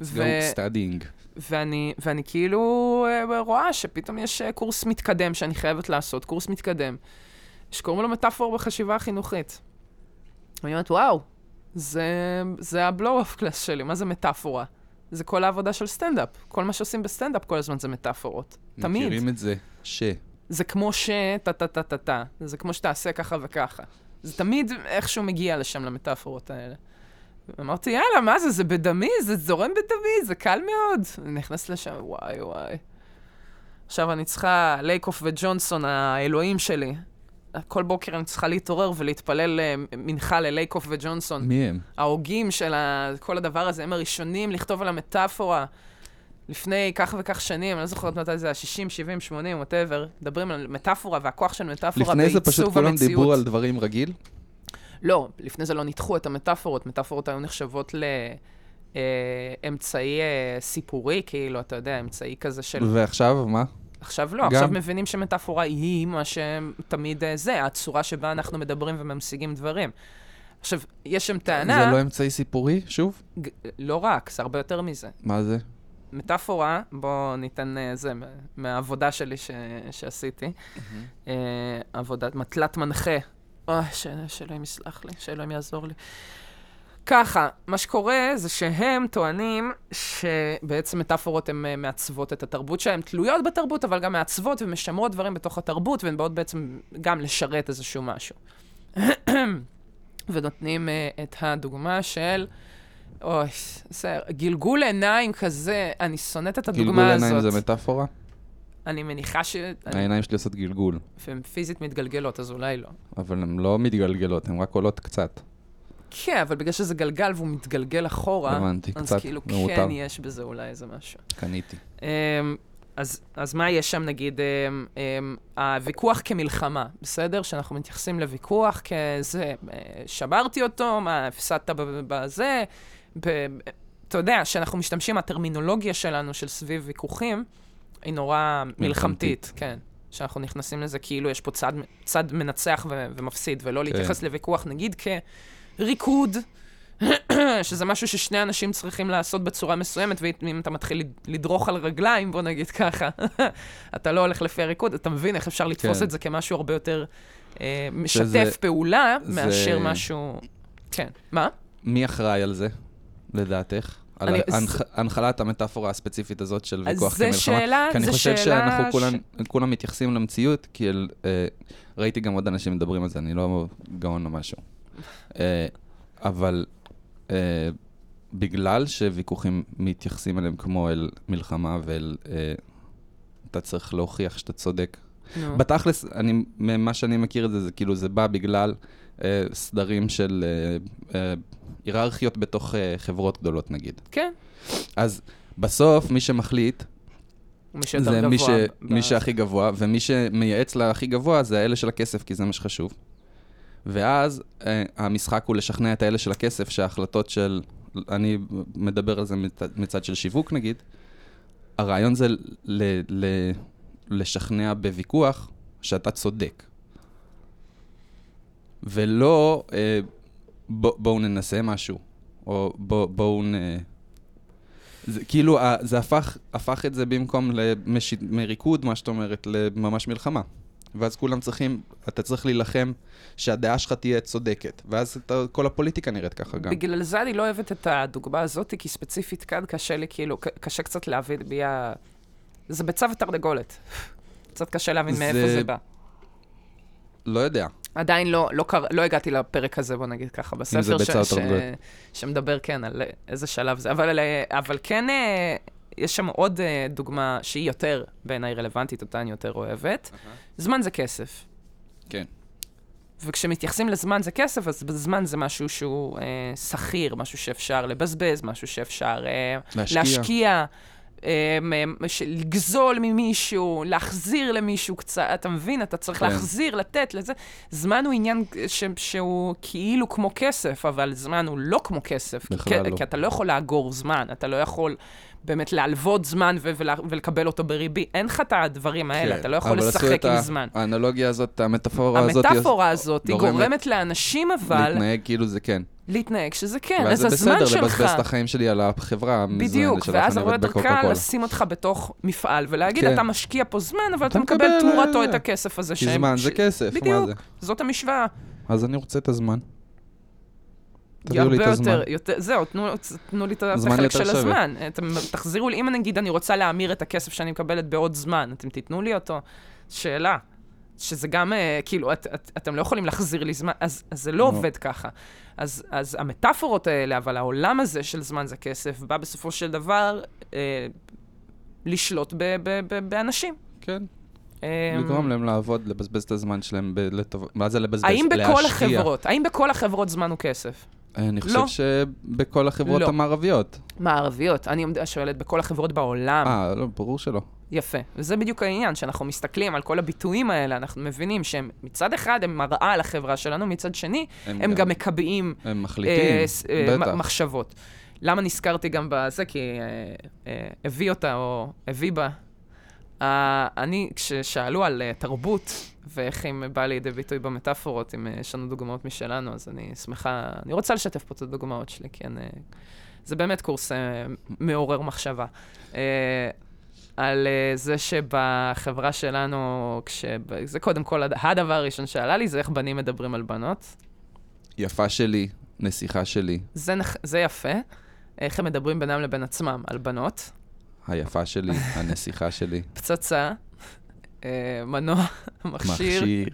ו... סטאדינג.
ואני, ואני כאילו אה, רואה שפתאום יש אה, קורס מתקדם שאני חייבת לעשות, קורס מתקדם, שקוראים לו מטאפור בחשיבה החינוכית. ואני אומרת, וואו, זה, זה הבלואו-אף קלאס שלי, מה זה מטאפורה? זה כל העבודה של סטנדאפ. כל מה שעושים בסטנדאפ כל הזמן זה מטאפורות. תמיד.
מכירים את זה ש...
זה כמו ש... טה-טה-טה-טה-טה, זה כמו שתעשה ככה וככה. זה תמיד איכשהו מגיע לשם, למטאפורות האלה. אמרתי, יאללה, מה זה, זה בדמי, זה זורם בדמי, זה קל מאוד. אני נכנס לשם, וואי וואי. עכשיו אני צריכה, לייקוף וג'ונסון, האלוהים שלי. כל בוקר אני צריכה להתעורר ולהתפלל אה, מנחה ללייקוף וג'ונסון.
מי הם?
ההוגים של ה... כל הדבר הזה, הם הראשונים לכתוב על המטאפורה. לפני כך וכך שנים, אני לא זוכרת מתי זה היה, 60, 70, 80, ווטאבר, מדברים על מטאפורה והכוח של מטאפורה
לפני זה פשוט
בעיצוב
כולם
המציאות.
דיברו על דברים רגיל.
כן. לא, לפני זה לא ניתחו את המטאפורות, מטאפורות היו נחשבות ל... אה, אמצעי אה, סיפורי, כאילו, אתה יודע, אמצעי כזה של...
ועכשיו, מה?
עכשיו לא, עכשיו
גם-
מבינים שמטאפורה היא מה שתמיד אה, זה, הצורה שבה אנחנו מדברים וממשיגים דברים. עכשיו, יש שם טענה,
זה לא אמצעי סיפורי, שוב?
ג- לא רק, זה הרבה יותר מזה.
מה זה?
מטאפורה, בואו ניתן אה, זה מה- מהעבודה שלי ש... שעשיתי. אה, עבודת מטלת מנחה. אוי, ש... שאלוהים יסלח לי, שאלוהים יעזור לי. ככה, מה שקורה זה שהם טוענים שבעצם מטאפורות הן אה, מעצבות את התרבות שלהן, תלויות בתרבות, אבל גם מעצבות ומשמרות דברים בתוך התרבות, והן באות בעצם גם לשרת איזשהו <clears throat> משהו. ונותנים אה, את הדוגמה של אוי, זה גלגול עיניים כזה, אני שונאת את
גלגול
הדוגמה
עיניים זה
הזאת.
מטאפורה?
אני מניחה ש... אני-
העיניים שלי עושות גלגול,
והן פיזית מתגלגלות, אז אולי לא.
אבל הן לא מתגלגלות, הן רק עולות קצת.
כן, אבל בגלל שזה גלגל והוא מתגלגל אחורה,
הבנתי,
אז
קצת
כאילו
מעוטר.
כן יש בזה אולי איזה משהו.
קניתי.
אמ, אז, אז מה יש שם, נגיד, אמ, אמ, הוויכוח כמלחמה, בסדר? שאנחנו מתייחסים לוויכוח כזה, אה, שברתי אותו, מה, הפסדת ב- בזה, ב- אתה יודע, שאנחנו משתמשים, הטרמינולוגיה שלנו של סביב ויכוחים, היא נורא מלחמתית, כן. שאנחנו נכנסים לזה כאילו יש פה צד, צד מנצח ו- ומפסיד, ולא להתייחס לוויכוח, נגיד, כריקוד. שזה משהו ששני אנשים צריכים לעשות בצורה מסוימת, ואם אתה מתחיל לד- לדרוך על רגליים, בוא נגיד ככה, <laughs> אתה לא הולך לפי הריקוד, אתה מבין איך אפשר לתפוס
כן.
את זה כמשהו הרבה יותר אה, משתף
שזה-
פעולה,
זה-
מאשר משהו... כן. מה?
מי אחראי על זה, לדעתך? על
אני-
ההנח- הנחלת המטאפורה הספציפית הזאת של
אז
ויכוח
זה
כמלחמה?
שאלה-
כי אני
זה
חושב
שאלה
שאנחנו
ש-
כולן- כולם מתייחסים למציאות, כי אל- אה, ראיתי גם עוד אנשים מדברים על זה, אני לא גאון או
<laughs>
משהו. אה, אבל אה, בגלל שוויכוחים מתייחסים אליהם כמו אל מלחמה ואל... אה, אתה צריך להוכיח שאתה צודק
נו.
בתכלס, אני, ממה שאני מכיר את זה, זה כאילו, זה בא בגלל אה, סדרים של אה, אה, היררכיות בתוך אה, חברות גדולות, נגיד.
כן.
אז בסוף, מי שמחליט,
מי שיותר
זה מי, ש,
גבוה ב-
מי שהכי גבוה, ומי שמייעץ להכי גבוה זה האלה של הכסף, כי זה מה שחשוב. ואז אה, המשחק הוא לשכנע את האלה של הכסף שההחלטות של, אני מדבר על זה מצד, מצד של שיווק נגיד, הרעיון זה ל, ל, ל, לשכנע בוויכוח שאתה צודק. ולא אה, בוא, בואו ננסה משהו, או בוא, בואו נ... זה כאילו, ה- זה הפך, הפך את זה במקום למש... מריקוד, מה שאת אומרת, לממש מלחמה. ואז כולם צריכים, אתה צריך להילחם שהדעה שלך תהיה צודקת. ואז אתה, כל הפוליטיקה נראית ככה גם.
בגלל זה אני לא אוהבת את הדוגמה הזאת, כי ספציפית כאן קשה לי, כאילו, ק- קשה קצת להבין מי ה... זה ביצה ותרנגולת. <laughs> קצת קשה להבין
זה-
מאיפה זה בא.
לא יודע.
עדיין לא, לא, קר... לא הגעתי לפרק הזה, בוא נגיד ככה, בספר
זה ביצה או
ש... ש...
תרנגולת.
שמדבר, כן, על אה, איזה שלב זה. אבל, אה, אבל כן, אה, יש שם עוד אה, דוגמה שהיא יותר בעיניי רלוונטית, אותה אני יותר אוהבת. זמן זה כסף.
כן.
וכשמתייחסים לזמן זה כסף, אז זמן זה משהו שהוא אה, שכיר, משהו שאפשר לבזבז, משהו שאפשר אה,
להשקיע.
להשקיע אה, מ- ש- לגזול ממישהו, להחזיר למישהו קצת, אתה מבין? אתה צריך
כן.
להחזיר, לתת לזה. זמן הוא עניין אה, ש, שהוא כאילו כמו כסף, אבל זמן הוא לא כמו כסף. כי-
בכלל
כי,
לא.
כי אתה לא יכול לאגור זמן, אתה לא יכול באמת להלוות זמן ו- ולה, ולקבל אותו בריבי. אין לך את הדברים האלה,
כן.
אתה לא יכול
אבל עשו
לשחק
את
עם
ה-
זמן.
האנלוגיה הזאת, המטאפורה הזאת, היא
המטאפורה הזאת, היא
גורמת-
גורמת לאנשים אבל
להתנהג כאילו זה כן.
להתנהג שזה כן,
ואז
אז
זה
הזמן
בסדר
שלך,
לבזבז את החיים שלי על החברה המזוינת
בדיוק,
שלך,
ואז
אני
הרבה
עובד
יותר קל
בקוקה-קולה.
לשים אותך בתוך מפעל ולהגיד,
כן.
אתה משקיע פה זמן, אבל אתה
אתה
מקבל
מקבל,
תמורתו
אה,
את הכסף הזה.
כי
שהם-
זמן זה
ש-
כסף, מה
בדיוק,
זה?
זאת המשוואה.
אז אני רוצה את הזמן.
היא
תביאו לי
הרבה
את הזמן.
יותר, יותר, זהו, תנו, תנו לי את
הזמן
החלק
יותר
של
שווה.
הזמן. אתם תחזירו לי, אם נגיד אני רוצה להמיר את הכסף שאני מקבלת בעוד זמן, אתם תיתנו לי אותו? שאלה. שזה גם, אה, כאילו, את, את, אתם לא יכולים להחזיר לי זמן, אז, אז זה לא
לא.
עובד ככה. אז, אז המטאפורות האלה, אבל העולם הזה של זמן זה כסף, בא בסופו של דבר אה, לשלוט ב, ב, ב, באנשים.
כן,
אה,
לגרום להם לעבוד, לבזבז את הזמן שלהם, ב- לטוב- מה זה לבזבז?
האם בכל
להשקיע.
החברות, האם בכל החברות זמן הוא כסף?
אני
לא.
חושב שבכל החברות
לא.
המערביות.
מה, ערביות? אני עומד- שואלת, בכל החברות בעולם.
אה, לא, ברור שלא.
יפה. וזה בדיוק העניין, שאנחנו מסתכלים על כל הביטויים האלה, אנחנו מבינים שהם מצד אחד הם מראה לחברה שלנו, מצד שני הם, גם, מקבעים
הם מחליטים,
אה, ס- אה, מ-
בטח.
מחשבות. למה נזכרתי גם בזה? כי אה, אה, הביא אותה, או הביא בה. אה, אני, כששאלו על אה, תרבות, ואיך היא באה לידי ביטוי במטאפורות, אם אה, יש לנו דוגמאות משלנו, אז אני שמחה, אני רוצה לשתף פה את הדוגמאות שלי, כי אני, זה באמת קורס אה, מעורר מחשבה. אה, על אה, זה שבחברה שלנו, כש... זה קודם כל הד- הדבר הראשון שעלה לי, זה איך בנים מדברים על בנות.
יפה שלי, נסיכה שלי,
זה, נכ... זה יפה, איך הם מדברים בינם לבין עצמם על בנות, <laughs>
היפה שלי, הנסיכה שלי.
פצצה, אה, מנוע, <laughs> מכשיר. <laughs>
מכשיר.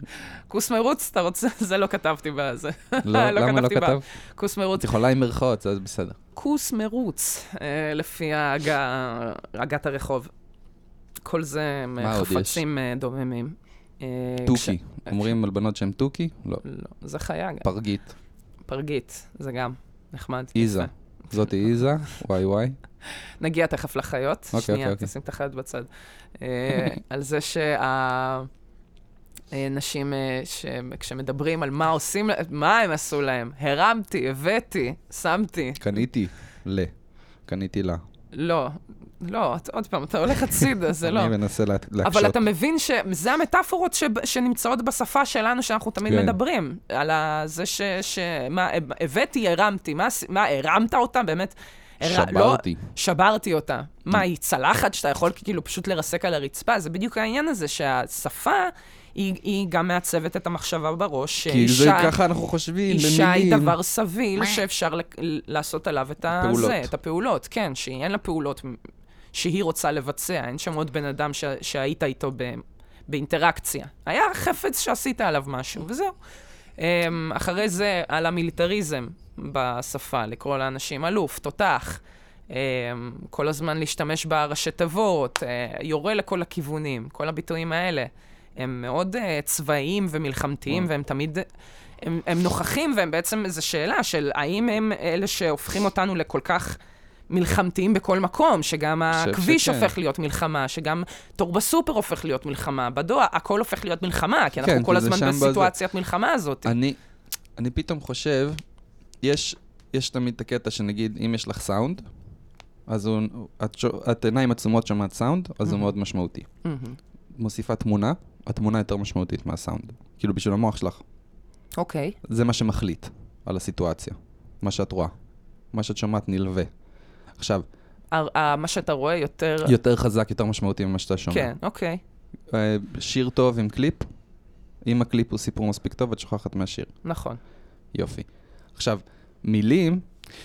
כוס מרוץ, אתה רוצה? <laughs> זה לא כתבתי בזה.
לא, למה לא
כתבתי בה.
כתב?
כוס מרוץ.
את יכולה עם מירכאות, זה בסדר.
כוס מרוץ, אה, לפי ההגה- הגת הרחוב. כל זה הם
מה
אה,
עוד יש?
חפצים אה, דוממים. אה, כש-
תוכי. אומרים על בנות שהן תוכי? לא.
לא, זה חיה, גם.
פרגית.
פרגית, זה גם נחמד.
איזה.
יפה.
זאתי איזה, וואי וואי.
נגיע תכף לחיות.
אוקיי,
שנייה,
אוקיי.
תשים את החיות בצד. אה,
<laughs>
על זה שה... אה, נשים, אה, שהם- כשמדברים על מה עושים, לה- מה הם עשו להם, הרמתי, הבאתי, שמתי.
קניתי. ל. קניתי לה.
לא, לא, אתה- עוד פעם, אתה הולך הצידה, זה
<laughs>
לא.
אני מנסה לה- להקשות.
אבל אתה מבין שזה המטאפורות ש... שנמצאות בשפה שלנו, שאנחנו תמיד
כן.
כן. מדברים. על ה- זה ש... ש... מה, הבאתי, הרמתי. מה, עש- מה הרמת אותה? באמת? הר-
שברתי.
לא, שברתי אותה. מה, היא צלחת שאתה יכול כאילו פשוט לרסק על הרצפה? זה בדיוק העניין הזה, שהשפה היא, היא גם מעצבת את המחשבה בראש.
כי
שאישה-
זה ככה אנחנו חושבים, במילים.
אה, אישה היא דבר סביל שאפשר לק- לעשות עליו את
פעולות.
הזה, את הפעולות, כן, שהיא אין לה פעולות מ- שהיא רוצה לבצע, אין שם עוד בן אדם ש- שהיית איתו ב- באינטראקציה. היה חפץ שעשית עליו משהו, וזהו. אמ, אחרי זה, על המיליטריזם בשפה, לקרוא לאנשים אלוף, תותח, אמ, כל הזמן להשתמש בראשי תיבות, אה, יורה לכל הכיוונים, כל הביטויים האלה. הם מאוד אה, צבאיים ומלחמתיים, והם תמיד... הם, הם נוכחים, והם בעצם, זו שאלה של האם הם אלה שהופכים אותנו לכל כך מלחמתיים בכל מקום, שגם
חושב
הכביש
שכן.
הופך להיות מלחמה, שגם תור בסופר הופך להיות מלחמה, בדואר, הכל הופך להיות מלחמה, כי אנחנו
כן,
כל
כי זה
הזמן
שם בזה.
בסיטואציית מלחמה הזאת.
אני, אני פתאום חושב, יש, יש תמיד את הקטע שנגיד, אם יש לך סאונד, אז הוא, את, שו- את עיניים עצומות שומעת סאונד, אז זה מאוד משמעותי.
מהמם.
מוסיפה תמונה, התמונה יותר משמעותית מהסאונד. כאילו בשביל המוח שלך,
אוקיי.
זה מה שמחליט על הסיטואציה, מה שאת רואה, מה שאת שומעת נלווה. עכשיו,
ה- ה- מה שאתה רואה יותר...
יותר חזק, יותר משמעותי ממה שאתה שומע.
אה. כן, אוקיי.
אה, שיר טוב עם קליפ, אם הקליפ הוא סיפור מספיק טוב, את שוכחת מהשיר.
נכון.
יופי. עכשיו, מילים,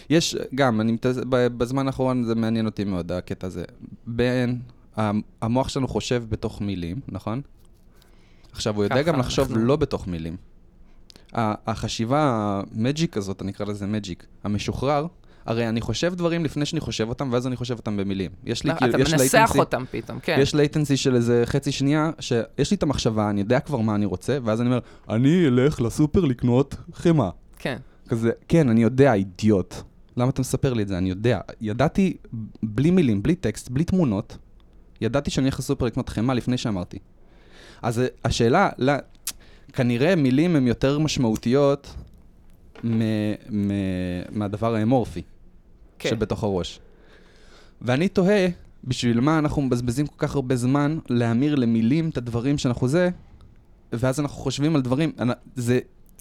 יש גם, אני מתעס... ב- בזמן האחרון זה מעניין אותי מאוד, הקטע הזה. בין, המ- המוח שלנו חושב בתוך מילים, נכון? עכשיו, הוא יודע
ככה
גם לחשוב
אנחנו.
לא בתוך מילים. ה- החשיבה המג'יק הזאת, אני אקרא לזה מג'יק, המשוחרר, הרי אני חושב דברים לפני שאני חושב אותם, ואז אני חושב אותם במילים. יש לי,
לא, אתה
כאילו, יש
מנסח
latency-
אותם פתאום, כן.
יש לייטנסי של איזה חצי שנייה, שיש לי את המחשבה, אני יודע כבר מה אני רוצה, ואז אני אומר, אני אלך לסופר לקנות חמאה.
כן.
כזה, כן, אני יודע, אידיוט. למה אתה מספר לי את זה? אני יודע. ידעתי, בלי מילים, בלי טקסט, בלי תמונות, ידעתי שאני הולך לסופר לקנות חמאה לפני שאמרתי. אז אה, השאלה, לא, כנראה מילים הן יותר משמעותיות מ, מ, מהדבר האמורפי
כן.
שבתוך הראש. ואני תוהה, בשביל מה אנחנו מבזבזים כל כך הרבה זמן להמיר למילים את הדברים שאנחנו זה, ואז אנחנו חושבים על דברים, אנ- זה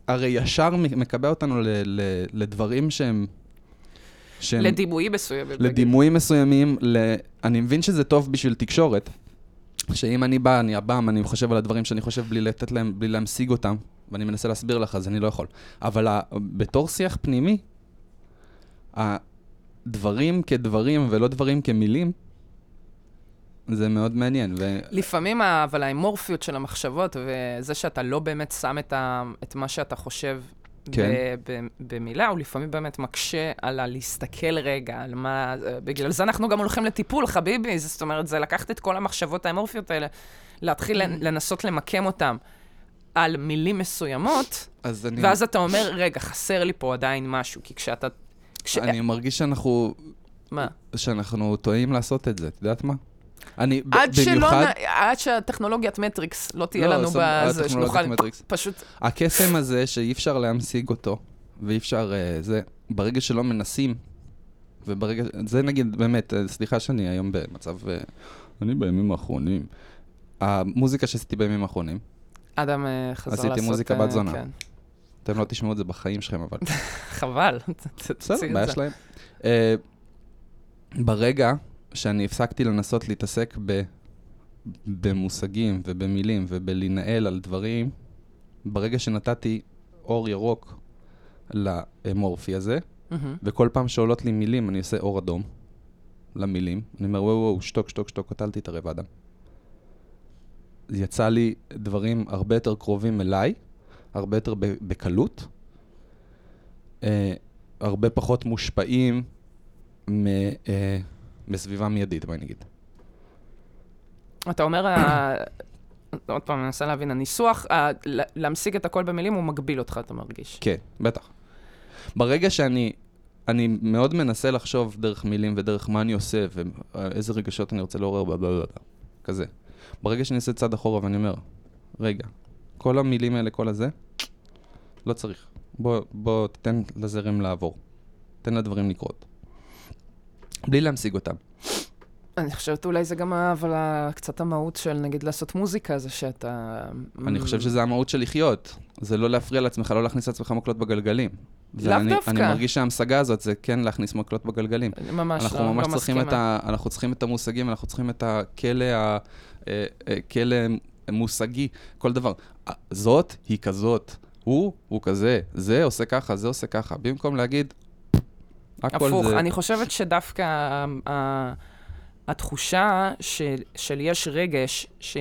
הרי ישר מ- מקבע אותנו ל, ל, לדברים שהם... שהם
לדימויים מסוימים. נגיד.
לדימויים מסוימים, ל... אני מבין שזה טוב בשביל תקשורת, שאם אני בא, אני הבם, אני חושב על הדברים שאני חושב בלי לתת להם, בלי להמשיג אותם, ואני מנסה להסביר לך, אז אני לא יכול. אבל ה... בתור שיח פנימי, הדברים כדברים ולא דברים כמילים, זה מאוד מעניין, ו...
לפעמים, ה- אבל האמורפיות של המחשבות, וזה שאתה לא באמת שם את, ה, את מה שאתה חושב
כן.
ב, ב, במילה, הוא לפעמים באמת מקשה על הלהסתכל רגע, על מה... בגלל זה אנחנו גם הולכים לטיפול, חביבי. זאת אומרת, זה לקחת את כל המחשבות האמורפיות האלה, להתחיל לנ- לנסות למקם אותן על מילים מסוימות,
אז אני...
ואז אתה אומר, רגע, חסר לי פה עדיין משהו, כי כשאתה... כש...
אני מרגיש שאנחנו...
מה?
שאנחנו טועים לעשות את זה, את יודעת מה? אני, ב-
עד, שלא,
במיוחד,
נ- עד שהטכנולוגיית מטריקס לא תהיה
לא,
לנו
זאת-
בזה,
הטכנולוגיית
שנוכל
מטריקס.
פשוט
הקסם הזה שאי אפשר להמשיג אותו, ואי אפשר אה, זה, ברגע שלא מנסים, וברגע, זה נגיד, באמת, אה, סליחה שאני היום במצב, אה, אני בימים האחרונים, המוזיקה שעשיתי בימים האחרונים,
אדם אה, חזר
עשיתי
לעשות...
מוזיקה
אה,
בת זונה.
כן.
אתם לא תשמעו את זה בחיים שלכם, אבל
חבל. <laughs> ת- ת-
בסדר,
תוציא את
בעיה
זה.
שלהם. אה, ברגע שאני הפסקתי לנסות להתעסק ב, במושגים ובמילים ובלהינעל על דברים, ברגע שנתתי אור ירוק לאמורפי הזה,
מהמם.
וכל פעם שעולות לי מילים, אני עושה אור אדום למילים. אני אומר, וואו, וואו, שתוק, שתוק, שתוק, אל תתערב, אדם. יצא לי דברים הרבה יותר קרובים אליי, הרבה יותר ב- בקלות, אה, הרבה פחות מושפעים מ, אה, מסביבה מיידית, בואי נגיד.
אתה אומר, ה- עוד פעם, אני מנסה להבין, הניסוח, ה- ל- להמשיג את הכל במילים, הוא מגביל אותך, אתה מרגיש.
כן, בטח. ברגע שאני, אני מאוד מנסה לחשוב דרך מילים ודרך מה אני עושה ואיזה רגשות אני רוצה לעורר, בלה בלה בלה, כזה. ברגע שאני עושה צעד אחורה ואני אומר, רגע, כל המילים האלה, כל הזה, לא צריך. בוא, בוא, תתן לזרם לעבור. תן לדברים לקרות. בלי להמשיג אותם.
אני חושבת אולי זה גם, ה- אבל ה- קצת המהות של, נגיד, לעשות מוזיקה, זה שאתה...
אני
Mm.
חושב שזה המהות של לחיות. זה לא להפריע לעצמך, לא להכניס לעצמך מקלות בגלגלים. ואני-
דווקא.
אני מרגיש שההמשגה הזאת זה כן להכניס מקלות בגלגלים.
אני ממש לא,
אנחנו
לא
ממש צריכים את
מסכימה.
ה... אנחנו צריכים את המושגים, אנחנו צריכים את הכלא, ה- אה, אה, כלא מושגי, כל דבר. אה, זאת היא כזאת, הוא הוא כזה, זה עושה ככה, זה עושה ככה. במקום להגיד, הכל
הפוך,
זה...
אני חושבת שדווקא ה- ה- התחושה של, של יש רגש ש...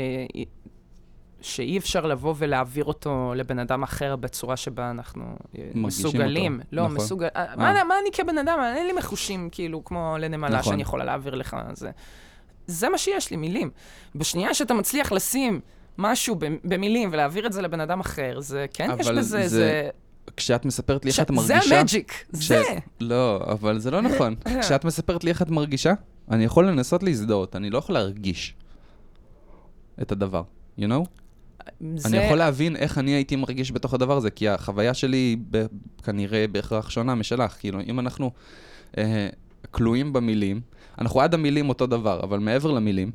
שאי אפשר לבוא ולהעביר אותו לבן אדם אחר בצורה שבה אנחנו אה,
מרגישים
מסוגלים.
אותו,
לא,
נכון.
מסוגל... אה, מה, אני- מה אני כבן אדם? אין לי מחושים, כאילו, כמו לנמלה
נכון.
שאני יכולה להעביר לך. זה. זה מה שיש לי, מילים. בשנייה שאתה מצליח לשים משהו במ- במילים ולהעביר את זה לבן אדם אחר, זה כן יש
אבל
בזה,
זה-
זה...
כשאת מספרת לי איך את
ש-
מרגישה...
זה המג'יק,
כש-
זה.
לא, אבל זה לא
<coughs>
נכון. כשאת מספרת לי איך את מרגישה, אני יכול לנסות להזדהות, אני לא יכול להרגיש את הדבר, you know?
זה...
אני יכול להבין איך אני הייתי מרגיש בתוך הדבר הזה, כי החוויה שלי היא ב- כנראה בהכרח שונה משלך. כאילו, אם אנחנו אה, כלואים במילים, אנחנו עד המילים אותו דבר, אבל מעבר למילים,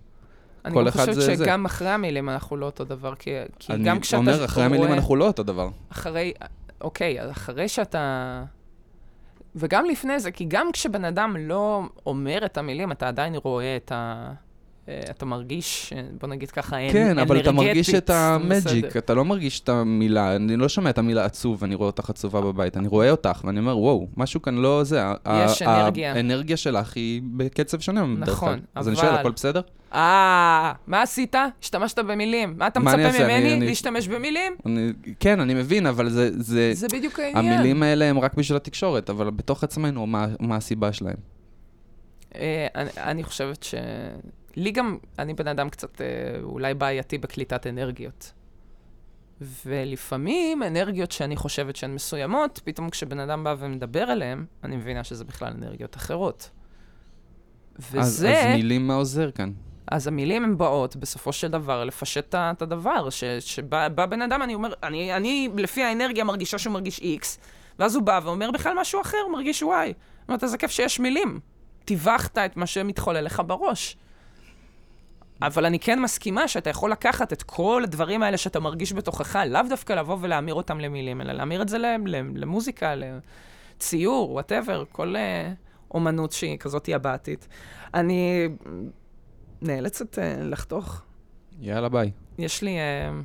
אני
כל
גם
אחד
חושבת
זה- זה.
שגם אחרי המילים אנחנו לא אותו דבר, כי, כי
אני
גם כשאתה
אומר, אחרי המילים
רואה-
אנחנו לא אותו דבר.
אחרי, אוקיי, אז אחרי שאתה... וגם לפני זה, כי גם כשבן אדם לא אומר את המילים, אתה עדיין רואה את ה... אה, אתה מרגיש, אה, בוא נגיד ככה, אנ-
כן, אבל אתה
אנרגטית,
מרגיש את
זה
המג'יק,
בסדר.
אתה לא מרגיש את המילה, אני לא שומע את המילה עצוב, אני רואה אותך עצובה בבית, אני רואה אותך, ואני אומר, וואו, משהו כאן לא זה. ה-
יש
ה-
אנרגיה."
האנרגיה שלך היא בקצב שונה. בדרך
נכון,
כלל. אז אני שואל,
אבל-
הכל בסדר?
אה, מה עשית? השתמשת במילים. מה אתה
מה
מצפה
אני אעשה? אני-
ממני?
אני-
להשתמש במילים?
אני- כן, אני מבין, אבל זה... זה
זה בדיוק העניין.
אה, המילים האלה הם רק בשביל התקשורת, אבל בתוך עצמנו, מה, מה הסיבה שלהם?
אה, אני, אני חושבת ש... לי גם, אני בן אדם קצת אה, אולי בעייתי בקליטת אנרגיות. ולפעמים אנרגיות שאני חושבת שהן מסוימות, פתאום כשבן אדם בא ומדבר עליהן, אני מבינה שזה בכלל אנרגיות אחרות. וזה,
אז,
אז,
אז מילים מה עוזר כאן?
אז המילים הן באות בסופו של דבר לפשט את ה- את הדבר, ש- שבא בא בן אדם, אני אומר, אני, אני לפי האנרגיה מרגישה שהוא מרגיש X, ואז הוא בא ואומר בכלל משהו אחר, הוא מרגיש Y. זאת אומרת, אז זה כיף שיש מילים. טיווחת את מה שמתחולל לך בראש. אבל אני כן מסכימה שאתה יכול לקחת את כל הדברים האלה שאתה מרגיש בתוכך, לאו דווקא לבוא ולהמיר אותם למילים, אלא להמיר את זה ל- ל- למוזיקה, לציור, וואטאבר, כל אה, אומנות שהיא כזאת הבעתית. אני נאלצת אה, לחתוך.
יאללה, ביי.
יש לי, אה,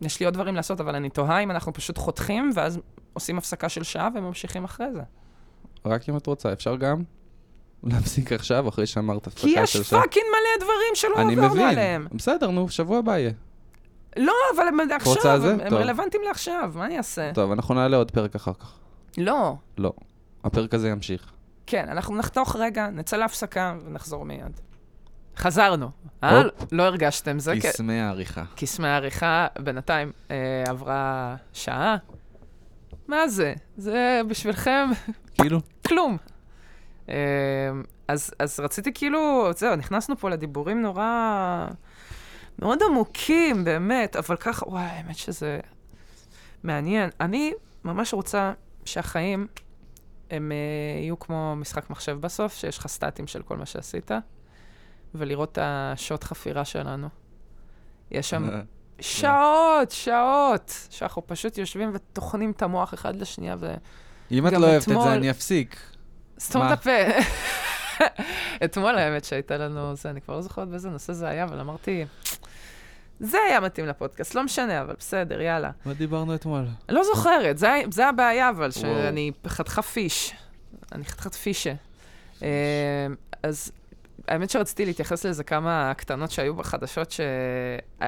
יש לי עוד דברים לעשות, אבל אני תוהה אם אנחנו פשוט חותכים, ואז עושים הפסקה של שעה וממשיכים אחרי זה.
רק אם את רוצה, אפשר גם להפסיק עכשיו, אחרי שאמרת הפסקה
כי יש
של שעה?
פאקינג מלא דברים שלא
אני
עברנו
מבין.
עליהם.
בסדר, נו, שבוע הבא יהיה.
לא, אבל הם עד
רוצה
עכשיו,
זה?
הם, הם
טוב.
רלוונטיים לעכשיו, מה אני אעשה?
טוב, אנחנו נעלה עוד פרק אחר כך.
לא.
לא. הפרק הזה ימשיך.
כן, אנחנו נחתוך רגע, נצא להפסקה ונחזור מיד. חזרנו. אה?
הופ.
לא הרגשתם זה? כן.
קסמי העריכה.
קסמי העריכה, בינתיים אה, עברה שעה. מה זה? זה בשבילכם
כאילו,
כלום. אמ, אז, אז רציתי כאילו, זהו, נכנסנו פה לדיבורים נורא... מאוד עמוקים, באמת, אבל ככה, וואי, האמת שזה מעניין. אני ממש רוצה שהחיים הם אה, יהיו כמו משחק מחשב בסוף, שיש לך סטטים של כל מה שעשית, ולראות את השעות חפירה שלנו. יש
אה,
שם שעות, שעות, שאנחנו פשוט יושבים וטוחנים את המוח אחד לשנייה ו...
אם את
גם
לא אוהבת את
אתמול-
זה, אני אפסיק.
סתום
מה?
את הפה. אה, <laughs> אתמול האמת שהייתה לנו, זה, אני כבר לא זוכרת באיזה נושא זה היה, אבל אמרתי, זה היה מתאים לפודקאסט, לא משנה, אבל בסדר, יאללה.
מה דיברנו אתמול?
אני לא זוכרת, זה, ה- זה הבעיה, אבל
וואו.
שאני חתיכת פיש. אני חתיכת פישה. אה, אז האמת שרציתי להתייחס לאיזה כמה קטנות שהיו בחדשות, ש... אה,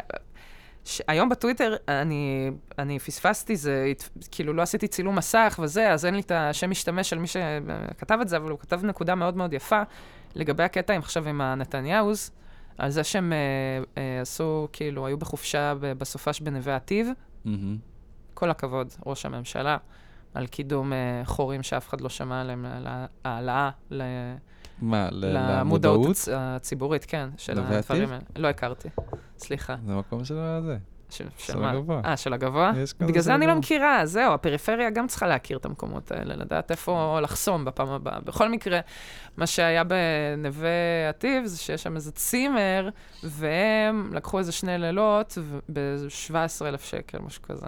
ש- היום בטוויטר אני, אני פספסתי, זה, הת- כאילו לא עשיתי צילום מסך וזה, אז אין לי את השם משתמש של מי שכתב את זה, אבל הוא כתב נקודה מאוד מאוד יפה לגבי הקטע עם עכשיו עם הנתניהוז, על זה שהם אה, אה, עשו, כאילו, היו בחופשה ב- בסופש בנווה אטיב.
מהמם.
כל הכבוד, ראש הממשלה, על קידום אה, חורים שאף אחד לא שמע עליהם, על העלאה ל-
מה, ל-
למודעות
למודעות?
הצ- הציבורית, כן, של
נווה
הדברים
עתיד?
האלה. לא הכרתי, סליחה.
זה מקום של הזה.
של
של
מה?
הגבוה.
אה, של הגבוה?
יש כזה
בגלל
של
זה אני לא
הגבוה.
מכירה, זהו, הפריפריה גם צריכה להכיר את המקומות האלה, לדעת איפה לחסום בפעם הבאה. בכל מקרה, מה שהיה בנווה אטיב זה שיש שם איזה צימר, והם לקחו איזה שני לילות ב-17,000 שקל, משהו כזה.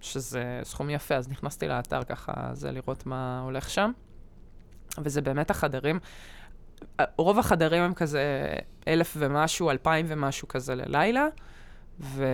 שזה סכום יפה, אז נכנסתי לאתר ככה, זה לראות מה הולך שם. וזה באמת החדרים, רוב החדרים הם כזה אלף ומשהו, אלפיים ומשהו כזה ללילה, ו,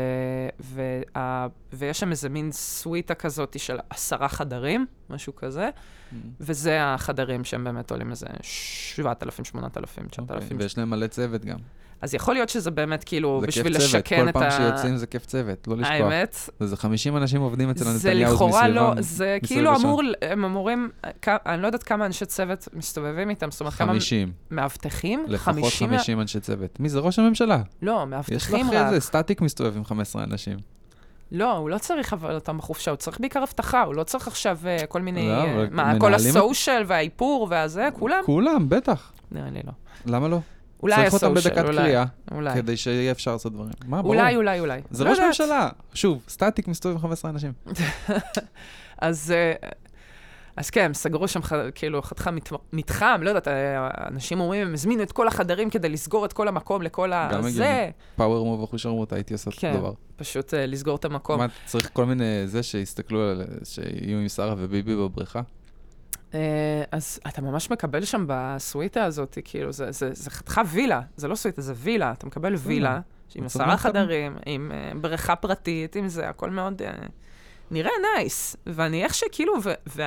וה, ויש שם איזה מין סוויטה כזאת של עשרה חדרים, משהו כזה,
Mm.
וזה החדרים שהם באמת עולים איזה 7,000, 8,000,
אוקיי,
9,000.
ויש להם מלא צוות גם.
אז יכול להיות שזה באמת כאילו
זה כיף
בשביל
צוות,
לשכן
כל
את
פעם
ה... אה,
שיוצאים זה כיף צוות, לא לשכוח.
האמת,
וזה 50 אנשים עובדים אצל
זה
הנתניהו
לכאורה לא,
מסביבם.
זה
מסביב
כאילו
לשעון.
אמור, הם אמורים, כ- אני לא יודעת כמה אנשי צוות מסתובבים איתם, זאת אומרת כמה
50,
מאבטחים,
לפחות 50 אנשי צוות. מי זה ראש הממשלה?
לא,
יש
מאבטחים
לך
רק.
איזה סטטיק מסתובב עם 15 אנשים.
לא, הוא לא צריך אבל אותם בחופשה, הוא צריך בעיקר אבטחה, הוא לא צריך עכשיו אה, כל מיני...
לא,
אה,
אבל
מה, כל
מנהלים- אה,
הסושיאל והאיפור והזה, כולם?
כולם, בטח.
נראה לי לא.
למה לא?
אולי
צריך
הסושיאל,
אותם
אולי.
בדקת קריאה,
אולי,
כדי שיהיה אפשר לעשות דברים. מה, ברור.
אולי, אולי, אולי.
זה
לא
ראש
יודעת.
ממשלה. שוב, סטטיק מסתובב עם 15 אנשים.
אז... אה, אז כן, הם סגרו שם ח- כאילו חתיכה מתמ- מתחם, לא יודעת, אה, אנשים אומרים, הם הזמינו את כל החדרים כדי לסגור את כל המקום לכל ה...
גם
זה,
הגיוני. פאוור מוב אחושרמוט, הייתי עושה
כן.
אותו דבר.
פשוט אה, לסגור את המקום.
מה, צריך כל מיני זה שיסתכלו על... שיהיו עם שרה וביבי בבריכה?
אה, אז אתה ממש מקבל שם בסוויטה הזאת, כאילו, זה, זה, זה חתיכה וילה, זה לא סוויטה, זה וילה. אתה מקבל וילה, עם
מצבים
עשרה
טובים.
חדרים, עם אה, בריכה פרטית, עם זה, הכל מאוד... אה, נראה נייס. ואני איך שכאילו, ו-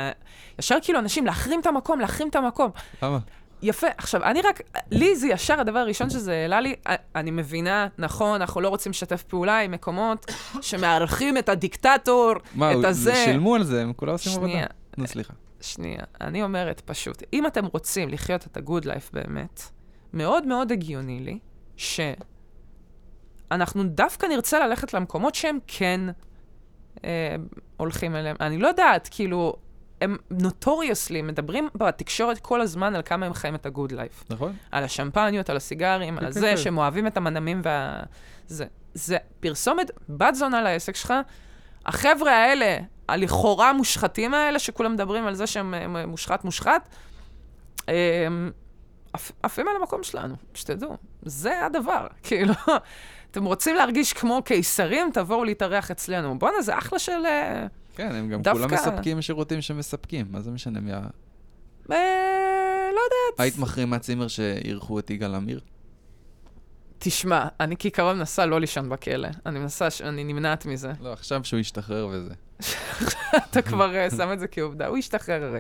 וישר כאילו אנשים, להחרים את המקום, להחרים את המקום.
למה?
יפה, עכשיו, אני רק, לי זה ישר הדבר הראשון שזה העלה לי, א- אני מבינה, נכון, אנחנו לא רוצים לשתף פעולה עם מקומות שמארחים את הדיקטטור,
מה,
את
הוא-
הזה.
שילמו על זה, הם כולם עושים עבודה.
שנייה,
נו, סליחה.
שנייה, אני אומרת פשוט, אם אתם רוצים לחיות את הגוד לייף באמת, מאוד מאוד הגיוני לי שאנחנו דווקא נרצה ללכת למקומות שהם כן אה, הולכים אליהם. אני לא יודעת, כאילו, הם נוטוריוסלי מדברים בתקשורת כל הזמן על כמה הם חיים את הגוד לייף.
נכון?
על השמפניות, על הסיגרים, על
כן,
הזה,
כן.
שהם אוהבים את המנעמים וה... זה, זה פרסומת בת זונה לעסק שלך. החבר'ה האלה, הלכאורה מושחתים האלה, שכולם מדברים על זה שהם הם, הם מושחת מושחת, הם עפ- עפים על המקום שלנו, שתדעו. זה הדבר, <laughs> כאילו. אתם רוצים להרגיש כמו קיסרים, תבואו להתארח אצלנו. בואנה, זה אחלה של... אה,
כן, הם גם
דווקא-
כולם מספקים שירותים שמספקים, מה זה משנה מי ה...
אה, לא יודעת.
היית מחרימה צימר שאירחו את יגאל עמיר?
תשמע, אני כעיקרון מנסה לא לישון בכלא. אני מנסה, ש- אני נמנעת מזה.
לא, עכשיו שהוא ישתחרר וזה.
אתה כבר אה, שם את זה כעובדה, הוא ישתחרר הרי.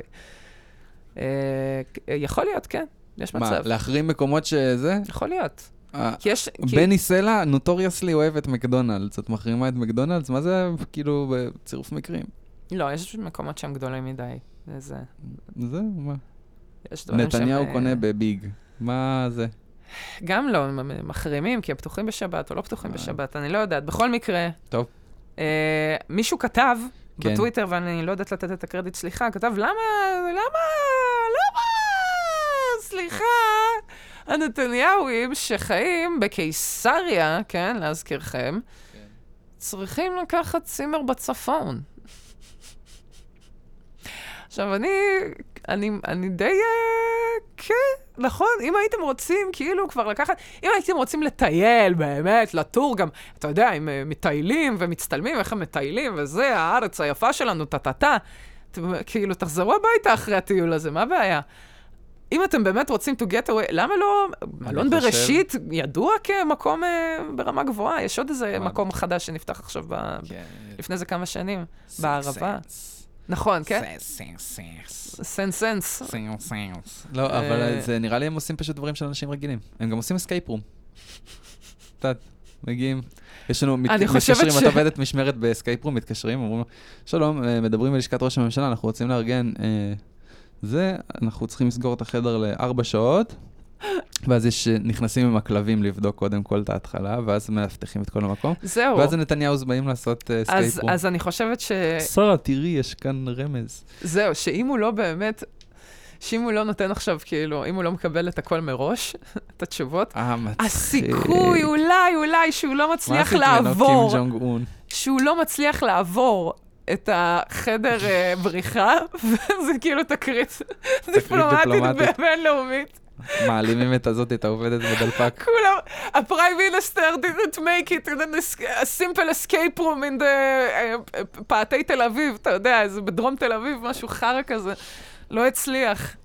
אה, אה, יכול להיות, כן, יש
מה,
מצב.
להחרים מקומות שזה?
יכול להיות.
אה,
כי יש... כי-
בני סלע נוטוריאסלי אוהב את מקדונלדס, את מחרימה את מקדונלדס? מה זה כאילו בצירוף מקרים?
לא, יש מקומות שהם גדולים מדי. זה- זה...
זה, מה?
יש דברים שהם...
נתניהו
אה,
קונה בביג. מה זה?
גם לא, הם מחרימים, כי הם פתוחים בשבת או לא פתוחים
אה.
בשבת, אני לא יודעת. בכל מקרה...
טוב.
אה, מישהו כתב
כן.
בטוויטר, ואני לא יודעת לתת את הקרדיט, סליחה, כתב, למה, למה, למה, סליחה, הנתניהואים שחיים בקיסריה, כן, להזכירכם,
כן.
צריכים לקחת צימר בצפון. עכשיו, אני, אני, אני די... אה, כן, נכון, אם הייתם רוצים כאילו כבר לקחת, אם הייתם רוצים לטייל באמת, לטור גם, אתה יודע, הם אה, מטיילים ומצטלמים, איך הם מטיילים, וזה, הארץ היפה שלנו, טה-טה-טה. אתם, כאילו, תחזרו הביתה אחרי הטיול הזה, מה הבעיה? אם אתם באמת רוצים to get away, למה לא... מלון
חושב-
בראשית ידוע כמקום אה, ברמה גבוהה, יש עוד איזה
מה?
מקום חדש שנפתח עכשיו, ב...
כן.
לפני איזה כמה שנים, בערבה. נכון, כן? סנס סנס.
לא,
אה,
אבל זה נראה לי הם עושים פשוט דברים של אנשים רגילים. הם גם עושים אסקייפ רום. את יודעת, מגיעים, יש לנו, מת-
אני חושבת
מתקשרים,
ש-
את עובדת משמרת באסקייפ רום, מתקשרים, אומרים, שלום, אה, מדברים מלשכת ראש הממשלה, אנחנו רוצים לארגן אה, זה, אנחנו צריכים לסגור את החדר לארבע שעות, ואז יש, אה, נכנסים עם הכלבים לבדוק קודם כל את ההתחלה, ואז מאבטחים את כל המקום,
זהו.
ואז הנתניהוז באים לעשות אה, אסקייפ
אז,
רום.
אז אני חושבת ש...
שרה, תראי, יש כאן רמז.
זהו, שאם הוא לא באמת... שאם הוא לא נותן עכשיו, כאילו, אם הוא לא מקבל את הכל מראש, <laughs> את התשובות,
אה, מצחיק.
הסיכוי, אולי, אולי, שהוא לא מצליח
מה
לעבור,
זה כאילו, קים ג'ונג און?
שהוא לא מצליח לעבור את החדר אה, בריחה, <laughs> וזה כאילו תקרית דיפלומטית
דיפלומטית.
בינלאומית.
מעלימים את הזאת, את העובדת בדלפק.
כולם, ה-Prime Minister didn't make it in an es- a simple escape room in the אה, אה, פעתי תל אביב, אתה יודע, זה בדרום תל אביב, משהו חרא כזה, לא הצליח.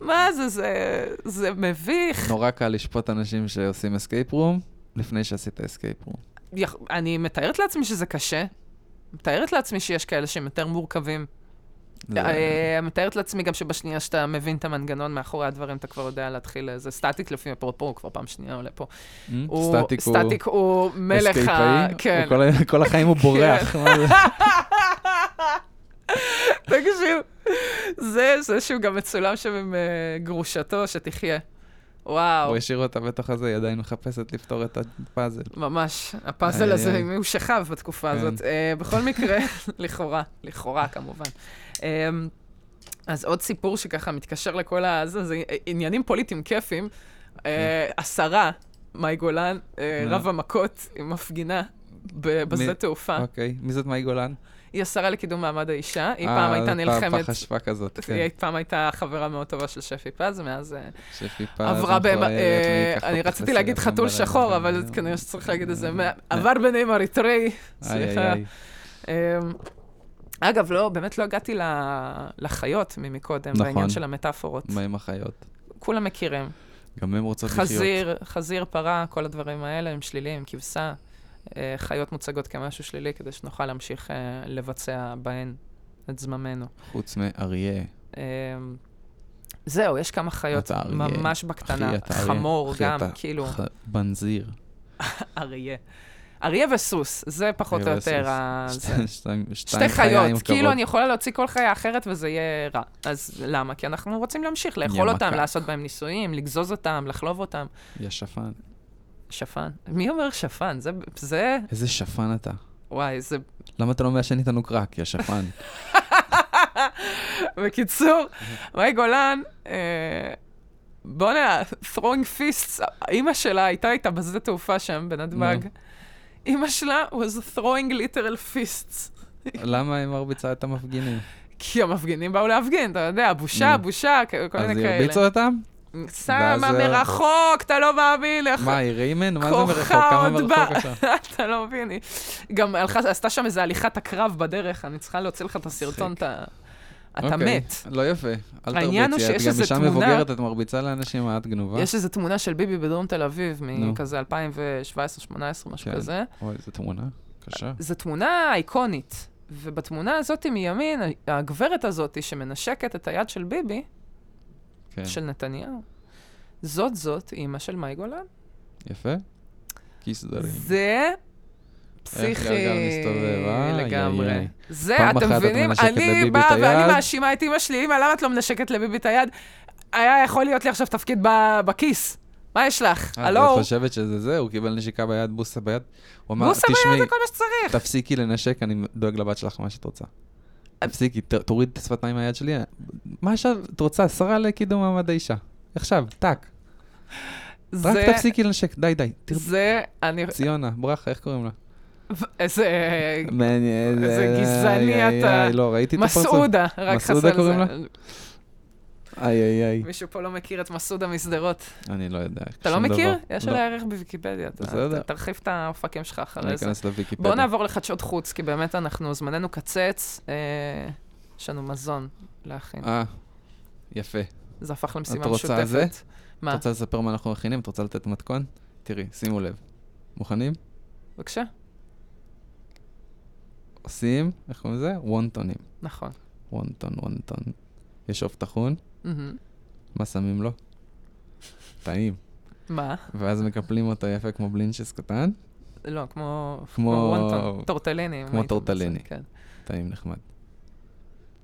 מה זה, זה, זה מביך.
נורא קל לשפוט אנשים שעושים אסקייפ רום, לפני שעשית אסקייפ רום.
יח- אני מתארת לעצמי שזה קשה. מתארת לעצמי שיש כאלה שהם יותר מורכבים.
זה-
אה, מתארת לעצמי גם שבשנייה שאתה מבין את המנגנון מאחורי הדברים, אתה כבר יודע להתחיל איזה סטטיק לפי אפרופו, הוא כבר פעם שנייה עולה פה.
אמ?
הוא-
סטטיק הוא
סטטיק הוא מלך ה...
אסקייפאי,
כן.
הוא כל- כל החיים הוא בורח. מה זה?
תקשיב, זה, זה שהוא גם מצולם שם עם אה, גרושתו, שתחיה. וואו,
הוא השאיר אותה בתוך הזה, היא עדיין מחפשת לפתור את הפאזל.
ממש,
איי,
הפאזל הזה,
איי.
אם הוא שכב בתקופה
כן.
הזאת. אה, בכל מקרה, <laughs> לכאורה, לכאורה כמובן. אה, אז עוד סיפור שככה מתקשר לכל הזה, זה עניינים פוליטיים כיפיים. אה,
כן.
השרה, מאי גולן, אה,
נו.
רב המכות עם מפגינה. ב- בשדה
מי-
תעופה.
אוקיי, מי זאת מאי גולן?
היא השרה לקידום מעמד האישה, היא
אה,
פעם הייתה
זאת פעם
נלחמת,
פח אשפה כזאת,
היא
כן.
פעם הייתה חברה מאוד טובה של שפי פז, מאז אה,
שפי פז,
עברה
המכוערת,
בהמה...
מי
אה,
ייקח
אני
אותך
רציתי להגיד
לסרט
חתול
בלילה?
שחור, אבל
אה,
כנראה שצריך להגיד איזה... מה-
אה,
עבר ביניהם אריתראי,
איי, איי,
סליחה.
איי.
אמ, אגב, לא, באמת לא הגעתי ל- לחיות ממקודם,
נכון.
בעניין של המטאפורות.
מה עם החיות?
כולם מכירים.
גם הם רוצות לחיות.
חזיר, חזיר, פרה, כל הדברים האלה הם שליליים, כבשה. אה, חיות מוצגות כמשהו שלילי, כדי שנוכל להמשיך אה, לבצע בהן את זממנו.
חוץ מאריה.
אמ, זהו, יש כמה חיות
אתה אריה.
ממש בקטנה.
אחי, אתה אריה.
חמור
אחי,
גם,
אתה
כאילו.
ח- בנזיר.
אריה. אריה וסוס, זה פחות או
אריה
יותר
וסוס.
ה...
שתי-
זה.
שתיים-
שתי
שתיים חיה עם
חיות, כאילו
כבוד.
אני יכולה להוציא כל חיה אחרת וזה יהיה רע. אז למה? כי אנחנו רוצים להמשיך לאכול
יא
אותם,
מקק.
לעשות בהם ניסויים, לגזוז אותם, לחלוב אותם.
יא שפן.
שפן. מי אומר שפן? זה, זה,
איזה שפן אתה.
וואי, זה...
למה אתה לא מעשן איתנו קרק, יא
<laughs>
שפן?
בקיצור, מאי גולן, אה, בואנה, throwing fists, אימא שלה הייתה איתה בשדה תעופה שם, בנתב"ג.
נו.
אימא שלה was throwing literal fists.
למה היא מרביצה את המפגינים?
כי המפגינים באו להפגין, אתה יודע, בושה,
נו.
בושה, כ- כל
אז
מיני
היא
כאלה.
הרביצה אותם?
שמה
ואז, אה,
מרחוק, אתה לא מאמין. איך-
מה, היא ריימן? מה זה מרחוק?
כוחה
כמה
עוד בא.
מרחוק עכשיו?
<laughs> אתה לא מבין. היא גם הלכה- עשתה שם איזה הליכת הקרב בדרך, אני צריכה להוציא לך את הסרטון, אתה אתה
אוקיי,
מת.
לא יפה. אל
העניין הוא
תרביצי, את
שיש
גם
איזה
אישה
תמונה-
מבוגרת, את מרביצה לאנשים, מה את גנובה?
יש איזו תמונה של ביבי בדרום תל אביב,
נו.
מכזה 2017-2018, משהו
כן.
כזה.
אוי, זו תמונה קשה.
זו תמונה איקונית, ובתמונה הזאת מימין, הגברת הזאת שמנשקת את היד של ביבי,
כן,
של נתניהו, זאת זאת אימא של מאי גולן.
יפה? כיס דרים.
זה פסיכי
גלגל מסתובב, אה? איי,
לגמרי.
איי.
זה,
פעם
אתם
אחת את
מבינים?
מנשקת
אני
לביבי
באה
את
ואני
היד.
מאשימה את אימא שלי, אימא, למה את לא מנשקת לביבי את היד? היה יכול להיות לי עכשיו תפקיד ב- בכיס. מה יש לך?
אה, ואת
הלו?
חושבת שזה זה? הוא קיבל נשיקה ביד, בוסה ביד? הוא אמר,
בוסה ביד
תשמעי,
זה כל מה שצריך.
תפסיקי לנשק, אני דואג לבת שלך מה שאת רוצה. תפסיקי, ת- תוריד את השפתיים מהיד שלי. מה שאת רוצה, שרה לקידום מעמד האישה. עכשיו, טאק. רק
זה-
תפסיקי לנשק, די, די. תר-
זה, אני,
ציונה, ברכה, איך קוראים לה?
איזה
מעניין.
איזה
איי,
גזעני
איי,
אתה.
איי, לא, ראיתי את הפרצוף.
מסעודה, רק חסר
מסעודה
לזה.
קוראים לה? איי, איי, איי.
מישהו פה לא מכיר את מסעודה משדרות.
אני לא יודע.
אתה לא
שום
מכיר?
דבר.
יש
לא.
עליה ערך בוויקיפדיה. אתה-
בסדר.
אתה- תרחיב את האופקים שלך
אני
אחרי זה.
אכנס לוויקיפדיה.
בואו נעבור לחדשות חוץ, כי באמת אנחנו, זמננו קצץ, אה, יש לנו מזון להכין.
אה, יפה.
זה הפך למשימה
את רוצה
משותפת.
זה? את
מה?
רוצה לספר מה אנחנו מכינים? את רוצה לתת מתכון? תראי, שימו לב. מוכנים?
בבקשה?
עושים, איך קוראים לזה? וונטונים.
נכון.
וונטון, וונטון. יש עוף טחון,
מהמם.
מה שמים לו? טעים.
מה?
ואז מקפלים אותו יפה כמו בלינצ'ס קטן,
לא, כמו...
כמו-
וונטון, טורטליני. אם
כמו
היית
טורטליני.
מנסה, כן.
טעים נחמד.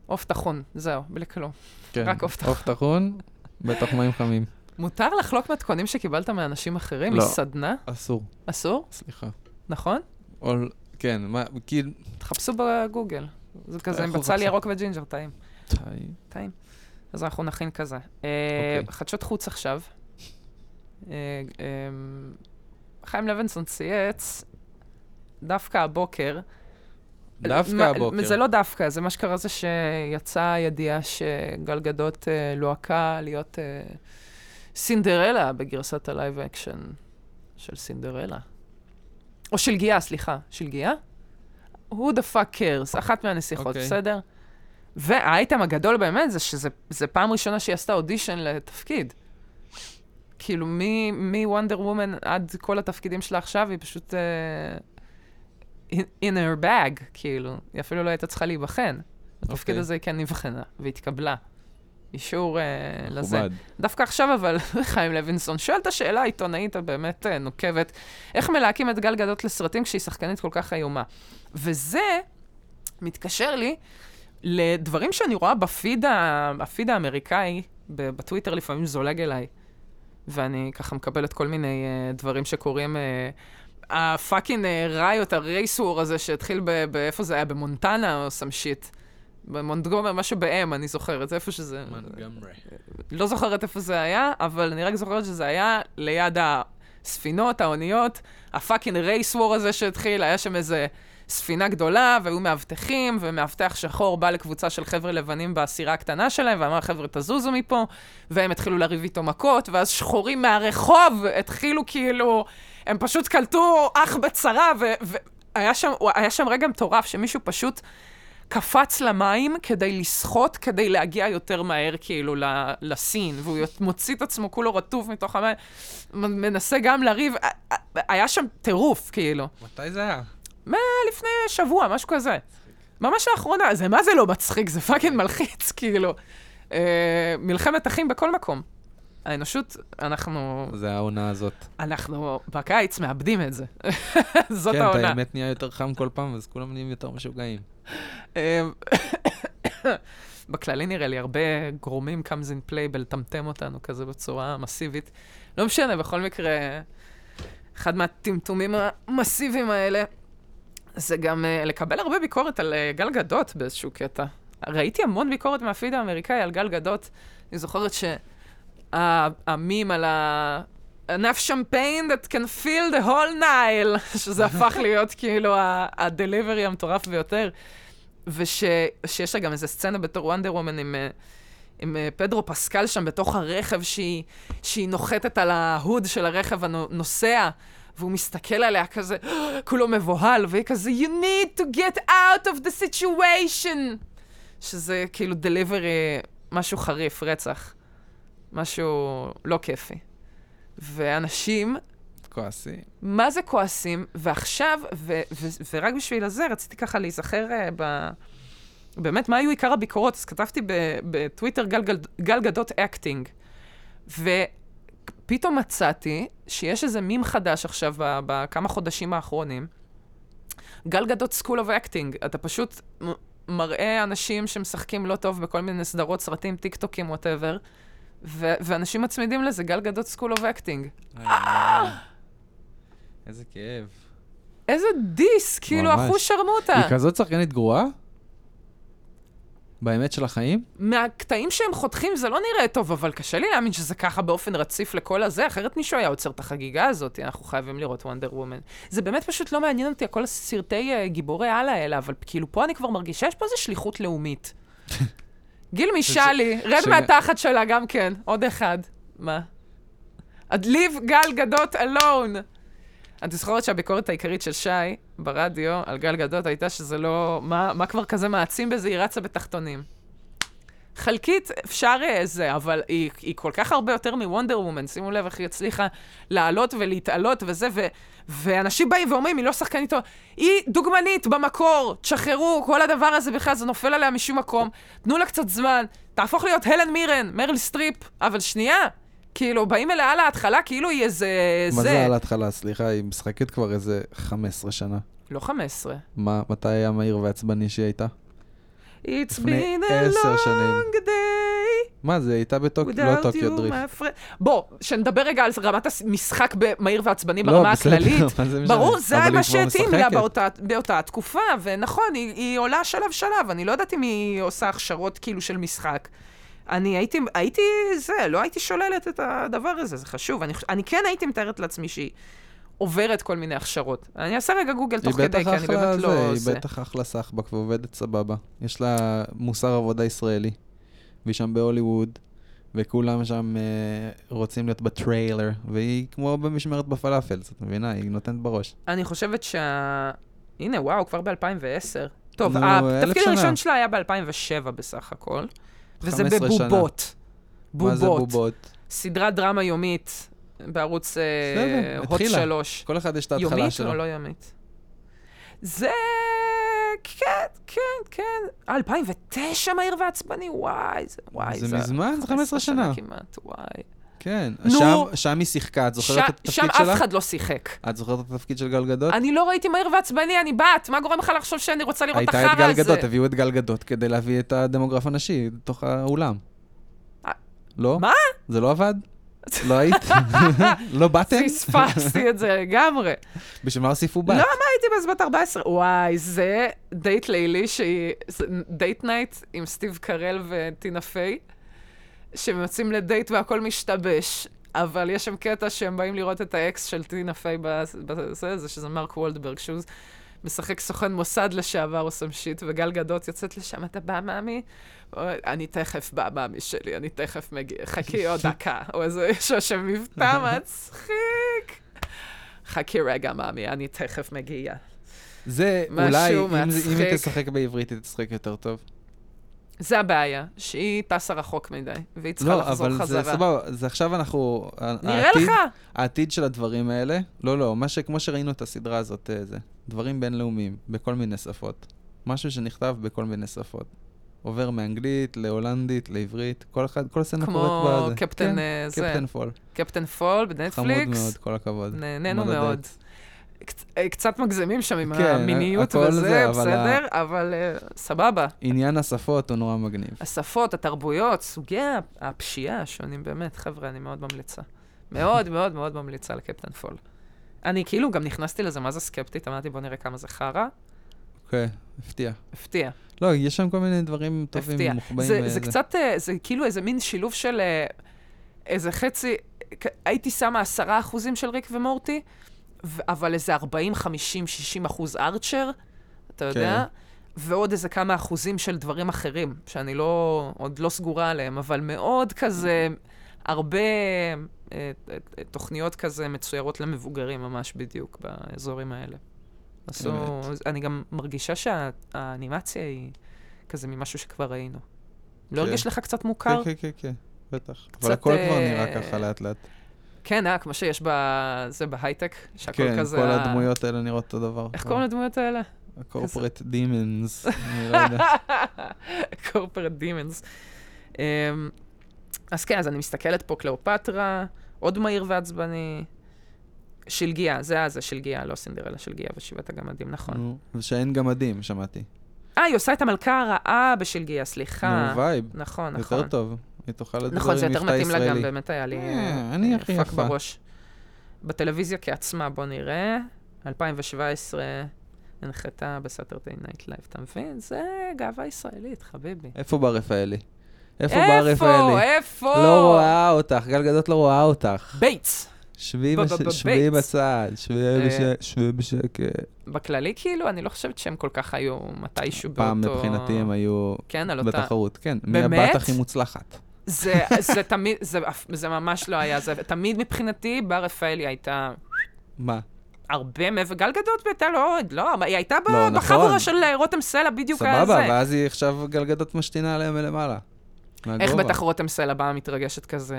עוף טחון, זהו, בלי כלום.
כן.
רק עוף טחון.
עוף טחון, בטח מים חמים.
מותר לחלוק מתכונים שקיבלת מאנשים אחרים?
לא.
מסדנה?
אסור,
אסור?
סליחה.
נכון?
או, כן, מה, כאילו,
תחפשו בגוגל. זה כזה עם
אנחנו
בצל
נחפש.
ירוק וג'ינג'ר, טעים.
טעים.
טעים. אז אנחנו נכין כזה. אה,
אוקיי.
חדשות חוץ עכשיו. אה, אמ, חיים לוינסון צייץ, דווקא הבוקר.
דווקא
אה, מה-
הבוקר.
זה לא דווקא, זה מה שקרה זה שיצאה ידיעה שגל גדות אה, לוהקה להיות אה, סינדרלה בגרסת הלייב אקשן של סינדרלה. או של גיאה, סליחה. של גיאה? Who the fuck cares, אחת מהנסיכות, okay.
אוקיי.
בסדר? והאייטם הגדול באמת זה שזה זה פעם ראשונה שהיא עשתה אודישן לתפקיד. כאילו, מוונדר וומן עד כל התפקידים שלה עכשיו, היא פשוט... אה, in in her bag, כאילו. היא אפילו לא הייתה צריכה להיבחן. התפקיד
אוקיי.
הזה היא כן נבחנה, והתקבלה. אישור אה, לזה.
מכובד.
דווקא עכשיו, אבל <laughs> חיים לוינסון שואל את השאלה העיתונאית הבאמת אה, נוקבת, איך מלהקים את גל גדות לסרטים כשהיא שחקנית כל כך איומה? וזה מתקשר לי לדברים שאני רואה בפיד, ה... הפיד האמריקאי, ב- בטוויטר לפעמים זולג אליי, ואני ככה מקבלת כל מיני אה, דברים שקורים. אה, הפאקינג אה, ראיות, הרייסוור הזה שהתחיל ב... ב- איפה זה היה? במונטנה או סם שיט. במונטגומר, משהו באם, אני זוכרת, זה איפה שזה... לא זוכרת איפה זה היה, אבל אני רק זוכרת שזה היה ליד הספינות, האוניות, הפאקינג רייס וור הזה שהתחיל, היה שם איזה ספינה גדולה, והיו מאבטחים, ומאבטח שחור בא לקבוצה של חבר'ה לבנים בסירה הקטנה שלהם, ואמר, חבר'ה, תזוזו מפה, והם התחילו לריב איתו מכות, ואז שחורים מהרחוב התחילו כאילו, הם פשוט קלטו אח בצרה, ו... ו... היה שם, היה שם רגע מטורף שמישהו פשוט קפץ למים כדי לשחות, כדי להגיע יותר מהר כאילו ל- לסין, והוא יות- מוציא את עצמו כולו רטוב מתוך המים, מ- מנסה גם לריב, ה- ה- היה שם טירוף כאילו.
מתי זה היה?
לפני שבוע, משהו כזה. ממש לאחרונה, זה מה זה לא מצחיק, זה פאקינג מלחיץ, כאילו. אה, מלחמת אחים בכל מקום. האנושות, אנחנו,
זה העונה הזאת.
אנחנו בקיץ מאבדים את זה. <laughs> זאת
כן,
העונה.
את האמת נהיה יותר חם כל פעם, אז כולם נהיים יותר משוגעים.
אמ, <coughs> בכללי נראה לי הרבה גורמים comes in play בלטמטם אותנו כזה בצורה מסיבית. לא משנה, בכל מקרה, אחד מהטמטומים המסיביים האלה זה גם אה, לקבל הרבה ביקורת על אה, גל גדות באיזשהו קטע. ראיתי המון ביקורת מהפיד האמריקאי על גל גדות. אני זוכרת שהמים על ה... enough champagne that can fill the whole Nile, <laughs> שזה הפך להיות כאילו ה- הדליברי המטורף ביותר. ושיש לה גם איזה סצנה בתור וונדר וומן עם, אה, עם אה, פדרו פסקל שם בתוך הרכב שהיא, שהיא נוחתת על ההוד של הרכב הנוסע. והוא מסתכל עליה כזה, כולו מבוהל, והיא כזה, you need to get out of the situation! שזה כאילו דליברי, משהו חריף, רצח. משהו לא כיפי. ואנשים <laughs>
כועסים.
מה זה כועסים, ועכשיו, ו- ו- ורק בשביל זה רציתי ככה להיזכר uh, ב... באמת, מה היו עיקר הביקורות? אז כתבתי ב- בטוויטר גל, גל, גל גדות אקטינג, ופתאום מצאתי שיש איזה מים חדש עכשיו, ב- בכמה חודשים האחרונים, גל גדות סקול אוף אקטינג, אתה פשוט מ- מראה אנשים שמשחקים לא טוב בכל מיני סדרות, סרטים, טיק טוקים, וואטאבר, ו- ואנשים מצמידים לזה, גל גדות סקול אוף אקטינג.
איזה כאב.
איזה דיס, כאילו,
ממש.
אחוז שרמוטה.
היא כזאת שחקנית גרועה? באמת של החיים?
מהקטעים שהם חותכים זה לא נראה טוב, אבל קשה לי להאמין שזה ככה באופן רציף לכל הזה, אחרת מישהו היה עוצר את החגיגה הזאת, אנחנו חייבים לראות וונדר וומן. זה באמת פשוט לא מעניין אותי, כל הסרטי אה, גיבורי על האלה, אבל כאילו פה אני כבר מרגישה, יש פה איזו שליחות לאומית. גיל משאלי, רד
ש-
מהתחת שלה גם כן, עוד אחד. מה? I'd leave גל גדות alone. את זוכרת שהביקורת העיקרית של שי ברדיו על גל גדות הייתה שזה לא... מה, מה כבר כזה מעצים בזה? היא רצה בתחתונים. חלקית אפשר אה, זה, אבל היא, היא כל כך הרבה יותר מוונדר וומן, שימו לב איך היא הצליחה לעלות ולהתעלות וזה, ו, ואנשים באים ואומרים, היא לא שחקנית, טובה." היא דוגמנית במקור, תשחררו, כל הדבר הזה בכלל, זה נופל עליה משום מקום, תנו לה קצת זמן, תהפוך להיות הלן מירן, מריל סטריפ, אבל שנייה, כאילו, באים אליה על ההתחלה, כאילו היא איזה...
מה
זה.
זה על ההתחלה? סליחה, היא משחקת כבר איזה 15 שנה.
לא 15.
מה, מתי היה מהיר ועצבני שהיא הייתה?
It's
לפני
been a
עשר
long
שנים.
day
מה, זה הייתה בטוקיו, לא
without
טוקיו
you,
דריפט.
my friend. בוא, שנדבר רגע על רמת המשחק במהיר ועצבני
לא,
ברמה
בסדר,
הכללית.
מה זה משנה?
ברור, זה
<laughs> אבל
היה
היא כבר
מה שהתאים לה
משחקת.
באותה, באותה התקופה, ונכון, היא, היא עולה שלב-שלב, אני לא יודעת אם היא עושה הכשרות כאילו של משחק. אני הייתי, הייתי זה, לא הייתי שוללת את הדבר הזה, זה חשוב. אני, חוש- אני כן הייתי מתארת לעצמי שהיא עוברת כל מיני הכשרות. אני אעשה רגע גוגל
היא
תוך
בטח
כדי, כי אני
אחלה
באמת
זה,
לא...
היא
זה.
בטח אחלה סחבק ועובדת סבבה. יש לה מוסר עבודה ישראלי, והיא שם בהוליווד, וכולם שם אה, רוצים להיות בטריילר, והיא כמו במשמרת בפלאפל, את מבינה? היא נותנת בראש.
אני חושבת שה... הנה, וואו, כבר ב-2010. טוב,
נו, אלף
התפקיד
שנה.
הראשון שלה היה ב-2007 בסך הכל, וזה
15 שנה.
בבובות.
מה זה
בובות.
בובות?
סדרת דרמה יומית בערוץ אה,
בסדר,
הוט
התחילה.
שלוש.
כל אחד יש את ההתחלה
יומית
שלו.
או לא יומית? זה... כן, כן, כן. אה, 2009 מהיר ועצבני, וואי, זה... וואי,
זה מזמן, זה 15 שנה.
כמעט, וואי.
כן.
כאילו. נו.
שם- שם היא שיחקה, את זוכרת
שם-
את
שם
התפקיד
אף
שלה?
אחד לא שיחק.
את זוכרת את התפקיד של גל גדות?
<laughs> אני לא ראיתי מהיר ועצבני, אני בת. מה גורם לך לחשוב שאני רוצה לראות את
הייתה את
החרא
גל
הזה?
גדות, הביאו את גל גדות כדי להביא את הדמוגרף הנשי לתוך האולם.
אה,
לא?
מה?
זה לא עבד? לא היית?
<laughs>
לא באתם?
פספסתי את זה לגמרי.
בשביל מה הוסיפו בת?
לא, מה הייתי אז בת 14? וואי, זה דייט לילי שהיא... זה דייט נייט עם סטיב קרל וטינה פיי, שהם יוצאים לדייט והכל משתבש. אבל יש שם קטע שהם באים לראות את האקס של טינה פיי בס- בזה, זה שזה מרק וולדברג, שהוא משחק סוכן מוסד לשעבר או סם שיט, וגל גדות יוצאת לשם, אתה בא, מאמי? אוי, אני תכף בא, מאמי שלי, אני תכף מגיע, חכי עוד דקה. או איזה, יש לו שם מבטא מצחיק. חכי רגע, מאמי, אני תכף מגיע.
זה
משהו
אולי, אם זה- אם
מצחיק.
היא תשחק בעברית, היא תשחק יותר טוב.
זה הבעיה, שהיא טסה רחוק מדי, והיא צריכה
לא,
לחזור
אבל זה
חזרה.
סבבה, זה עכשיו אנחנו... ה-
נראה
העתיד-
לך?
העתיד של הדברים האלה, לא, לא, מה שכמו שראינו את הסדרה הזאת, אה, זה דברים בינלאומיים, בכל מיני שפות. משהו שנכתב בכל מיני שפות. עובר מאנגלית, להולנדית, לעברית, כל אחד, כל הסצנה
כמו
קורית בזה.
קפטן,
כן,
אה, זה.
קפטן פול.
קפטן פול
חמוד מאוד,
בנטפליקס.
כל הכבוד.
נהנינו
מאוד
מאוד.
הדייט.
קצ- אה, קצת מגזימים שם עם
כן,
המיניות
הכל
וזה,
זה, אבל
בסדר, אבל אה, סבבה.
עניין השפות הוא נורא מגניב.
השפות, התרבויות, סוגי ה- הפשיעה השונים, באמת, חבר'ה, אני מאוד ממליצה.
<laughs>
מאוד מאוד מאוד ממליצה לקפטן פול. אני כאילו גם נכנסתי לזה, מה זה סקפטית? אמרתי, בוא נראה כמה זה חרא.
כן, הפתיע.
הפתיע.
לא, יש שם כל מיני דברים
הפתיע.
טובים, מוחבאים.
זה,
אה,
זה קצת, אה, זה כאילו איזה מין שילוב של אה, איזה חצי, כ- הייתי שמה עשרה אחוזים של ריק ומורטי, ו- אבל איזה 40, 50, 60 אחוז ארצ'ר, אתה יודע? ועוד איזה כמה אחוזים של דברים אחרים, שאני לא, עוד לא סגורה עליהם, אבל מאוד כזה, הרבה אה, אה, תוכניות כזה מצוירות למבוגרים ממש בדיוק באזורים האלה. עשו, אני גם מרגישה שהאנימציה היא כזה ממשהו שכבר ראינו. לא
כן.
הרגיש לך קצת
כן,
מוכר?
כן, כן, כן, בטח. אבל
קצת,
הכל כבר
אה,
נראה ככה לאט לאט.
כן, אה, כמו שיש ב... זה בהייטק, שהכל
כן,
כזה...
כל
ה-
הדמויות כן. האלה נראות אותו דבר.
איך קוראים לדמויות האלה? <laughs>
corporate demons, אני לא יודע.
קורפרט דימנס. אמ, אז כן, אז אני מסתכלת פה, קליאופטרה, עוד מהיר ועצבני, שלגיה, זה היה זה, שלגיה, לא סינדרלה, שלגיה ושבעת הגמדים, נכון.
נו, ושאין גמדים, שמעתי.
אה, היא עושה את המלכה הרעה בשלגיה, סליחה.
נו, וייב,
נכון, כן, נכון.
יותר טוב. היא תוכל לדבר עם מבטא
נכון, זה
ישראלי.
יותר מתאים לה גם, באמת היה לי
אה,
אה,
אני
אה,
הכי
פאק
יפה.
בראש. בטלוויזיה כעצמה, בוא נראה. 2017 הנחתה בסאטרטי נייט לייב, אתה מבין? זה גאווה ישראלית, חביבי.
איפה בר רפאלי? איפה בר רפאלי?
איפה?
לא רואה אותך, גל גדות לא רואה אותך.
בייטס.
שבי
ב-
בש-
ב-
שבי
בבית.
בצד, שבי
אה,
בש- שבי בשקט.
בכללי, כאילו, אני לא חושבת שהם כל כך היו מתישהו באותו...
פעם מבחינתי הם היו
כן, על אותה...
בתחרות, כן. מי
באמת?
הבת הכי מוצלחת.
זה, זה תמיד, זה, אף- זה ממש לא היה זה. תמיד מבחינתי, בר רפאלי הייתה
מה?
הרבה מעבר, גל גדות הייתה לא עוד, לא, אבל היא הייתה ב-
לא,
בחבורה
נכון.
של אה, רותם סלע בדיוק היה
סבבה,
זה.
ואז היא עכשיו גלגדות משתינה עליהם מלמעלה.
איך
מהגובה.
בטח רותם סלע באה מתרגשת כזה...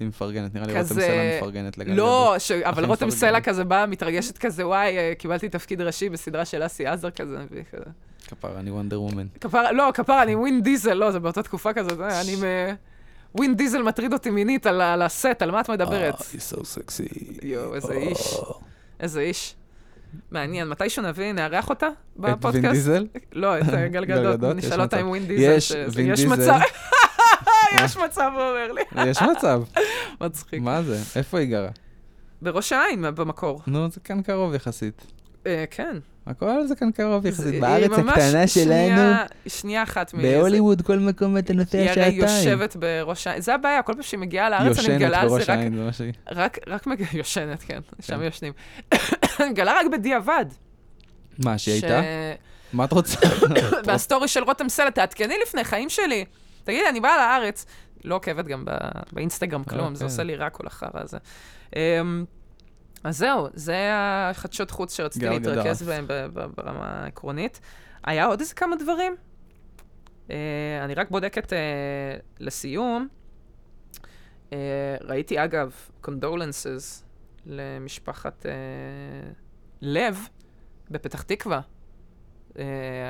היא מפרגנת, נראה לי רותם
כזה-
סלע מפרגנת לגלגדות.
לא, ש... אבל
הכי
רותם
מפרגן.
סלע כזה באה מתרגשת כזה, וואי, אה, קיבלתי תפקיד ראשי בסדרה של אסי עזר כזה. והיא כזה.
כפרה, אני וונדר וומן.
כפרה, לא, כפרה, אני ווין דיזל, לא, זה באותה תקופה כזאת, אה, אני מ... ווין דיזל מטריד אותי מינית על, ה- על הסט, על מה את מדברת?
אה, so sexy. אה,
יואו, איזה איש. איזה איש. מעניין, מתישהו נביא, נארח אותה
את וין
בפודקאסט?
דיזל?
לא, את גל
גל
גדות.
גדות, יש
נשאל אותה
מצב.
עם ווין דיזל.
יש,
ש-
וין
יש
דיזל.
מצב,
<laughs>
יש מצב, הוא אומר לי.
יש מצב.
<laughs> מצחיק.
מה זה? איפה היא גרה?
בראש העין במקור.
נו, זה כאן קרוב יחסית.
אה, כן.
הכל זה כאן קרוב
זה-
יחסית.
היא
בארץ
ממש
הקטנה שלנו,
שנייה- שנייה אחת מ...
בהוליווד כל מקום אתה נוסע
היא הרי
שעתיים.
יושבת בראש העין. זה הבעיה, כל פעם שהיא מגיעה
היא
לארץ, אני
יושנת
מגלה על זה
בראש
רק...
העין, זה מה שהיא.
רק, רק מג... <laughs> יושנת, כן, שם יושנים. אני <coughs> מגלה רק בדיעבד.
מה, שהיא
ש-
הייתה? מה את רוצה? <coughs>
<laughs> והסטורי של רותם סלע, תעדכני לפני חיים שלי. תגידי, אני באה לארץ. לא עוקבת גם ב... באינסטגרם כלום, זה
אוקיי.
עושה לי רע כל החרא הזה. אמ, אז זהו, זה החדשות חוץ שרציתי
גל גדף.
להתרכז בהן ב- ב- ברמה העקרונית. היה עוד איזה כמה דברים. אה, אני רק בודקת אה, לסיום. אה, ראיתי, אגב, קונדולנסס למשפחת אה, לב בפתח תקווה. אה,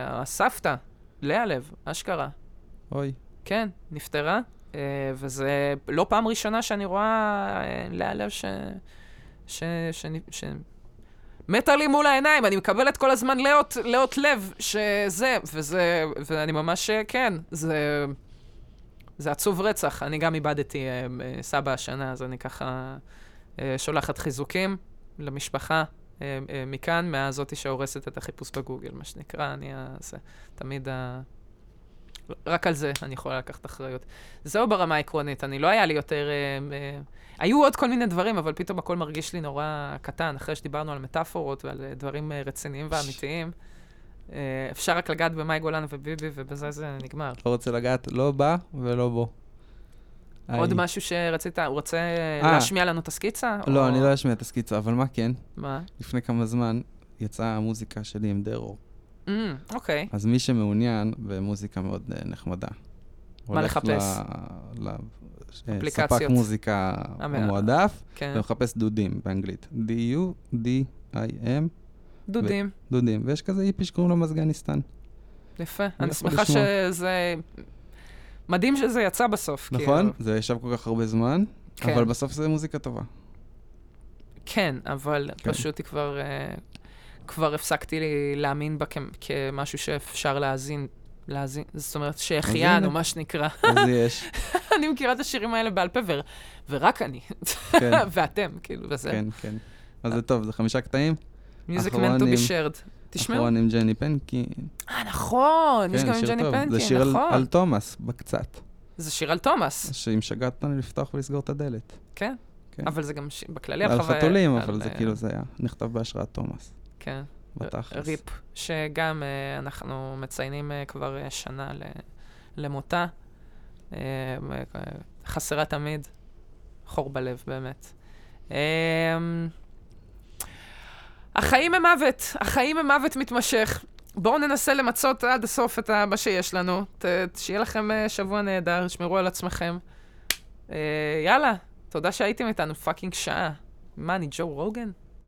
הסבתא, לאה לב, אשכרה.
אוי,
כן, נפטרה, אה, וזה לא פעם ראשונה שאני רואה אה, לאה לב ש... ש... ש... ש... מתה לי מול העיניים, אני מקבלת כל הזמן לאות, לאות לב שזה, וזה, ואני ממש, אה, כן, זה, זה עצוב רצח. אני גם איבדתי אה, אה, סבא השנה, אז אני ככה אה, שולחת חיזוקים למשפחה אה, אה, מכאן, מהזאתי שהורסת את החיפוש בגוגל, מה שנקרא, אני ה... זה, תמיד ה... רק על זה אני יכולה לקחת אחריות. זהו ברמה העקרונית, אני לא היה לי יותר... אה, אה, היו עוד כל מיני דברים, אבל פתאום הכל מרגיש לי נורא קטן, אחרי שדיברנו על מטאפורות ועל אה, דברים אה, רציניים ואמיתיים. אה, אפשר רק לגעת במאי גולן וביבי, ובזה זה נגמר.
לא רוצה לגעת לא בה ולא בו.
עוד
היי.
משהו שרצית, הוא רוצה אה,
אה.
להשמיע לנו את הסקיצה? או-
לא, אני לא אשמיע את הסקיצה, אבל מה כן?
מה?
לפני כמה זמן יצאה המוזיקה שלי עם דרור.
Mm, אוקיי.
אז מי שמעוניין במוזיקה מאוד אה, נחמדה. הולך
לחפש?
ל- ל- ש- אה,
אפליקציות.
ספק מוזיקה
המאה.
המועדף,
כן.
ומחפש דודים באנגלית. D-U-D-I-M,
דודים.
דודים. ויש כזה איפי שקוראים לו מזגניסטן.
כן. יפה. אני
יכול
שמחה
לשמוע.
שזה... מדהים שזה יצא בסוף.
נכון?
כאילו.
זה ישב כל כך הרבה זמן,
כן.
אבל בסוף זה מוזיקה טובה.
כן, אבל
כן.
פשוט היא כבר... אה, כבר הפסקתי לי להאמין בה כ- כמשהו שאפשר להאזין. להאזין, זאת אומרת שהחיינו,
הנה.
מה שנקרא.
אז יש,
<laughs> אני מכירה את השירים האלה בעל פה, ו- ורק אני,
כן,
<laughs> ואתם, כאילו, וזה.
כן, כן. אז זה טוב, זה חמישה קטעים.
מיוזיק מנט טו בי
אחרונים.
שרד. תשמעו.
אחרון עם ג'ני פנקין.
אה, נכון, יש
כן,
גם עם
שיר
ג'ני
טוב. זה
פנקין,
שיר על-
נכון.
על תומאס, בקצת.
זה שיר על תומאס,
שאם שגעת אותנו לפתוח ולסגור את הדלת.
כן?
כן.
אבל זה גם ש- בכללי
על
חוויה-
חתולים,
על,
אבל זה
אה,
כאילו זה היה נכתב בהשראת תומאס,
כן,
בתכלס.
ריפ, שגם אה, אנחנו מציינים אה, כבר אה, שנה ל- למותה. אה, אה, חסרה תמיד, חור בלב, באמת. אה, החיים הם מוות, החיים הם מוות מתמשך. בואו ננסה למצות עד הסוף את ה- מה שיש לנו. ת- שיהיה לכם אה, שבוע נהדר, שמרו על עצמכם. אה, יאללה, תודה שהייתם איתנו פאקינג שעה. מה, אני ג'ו רוגן?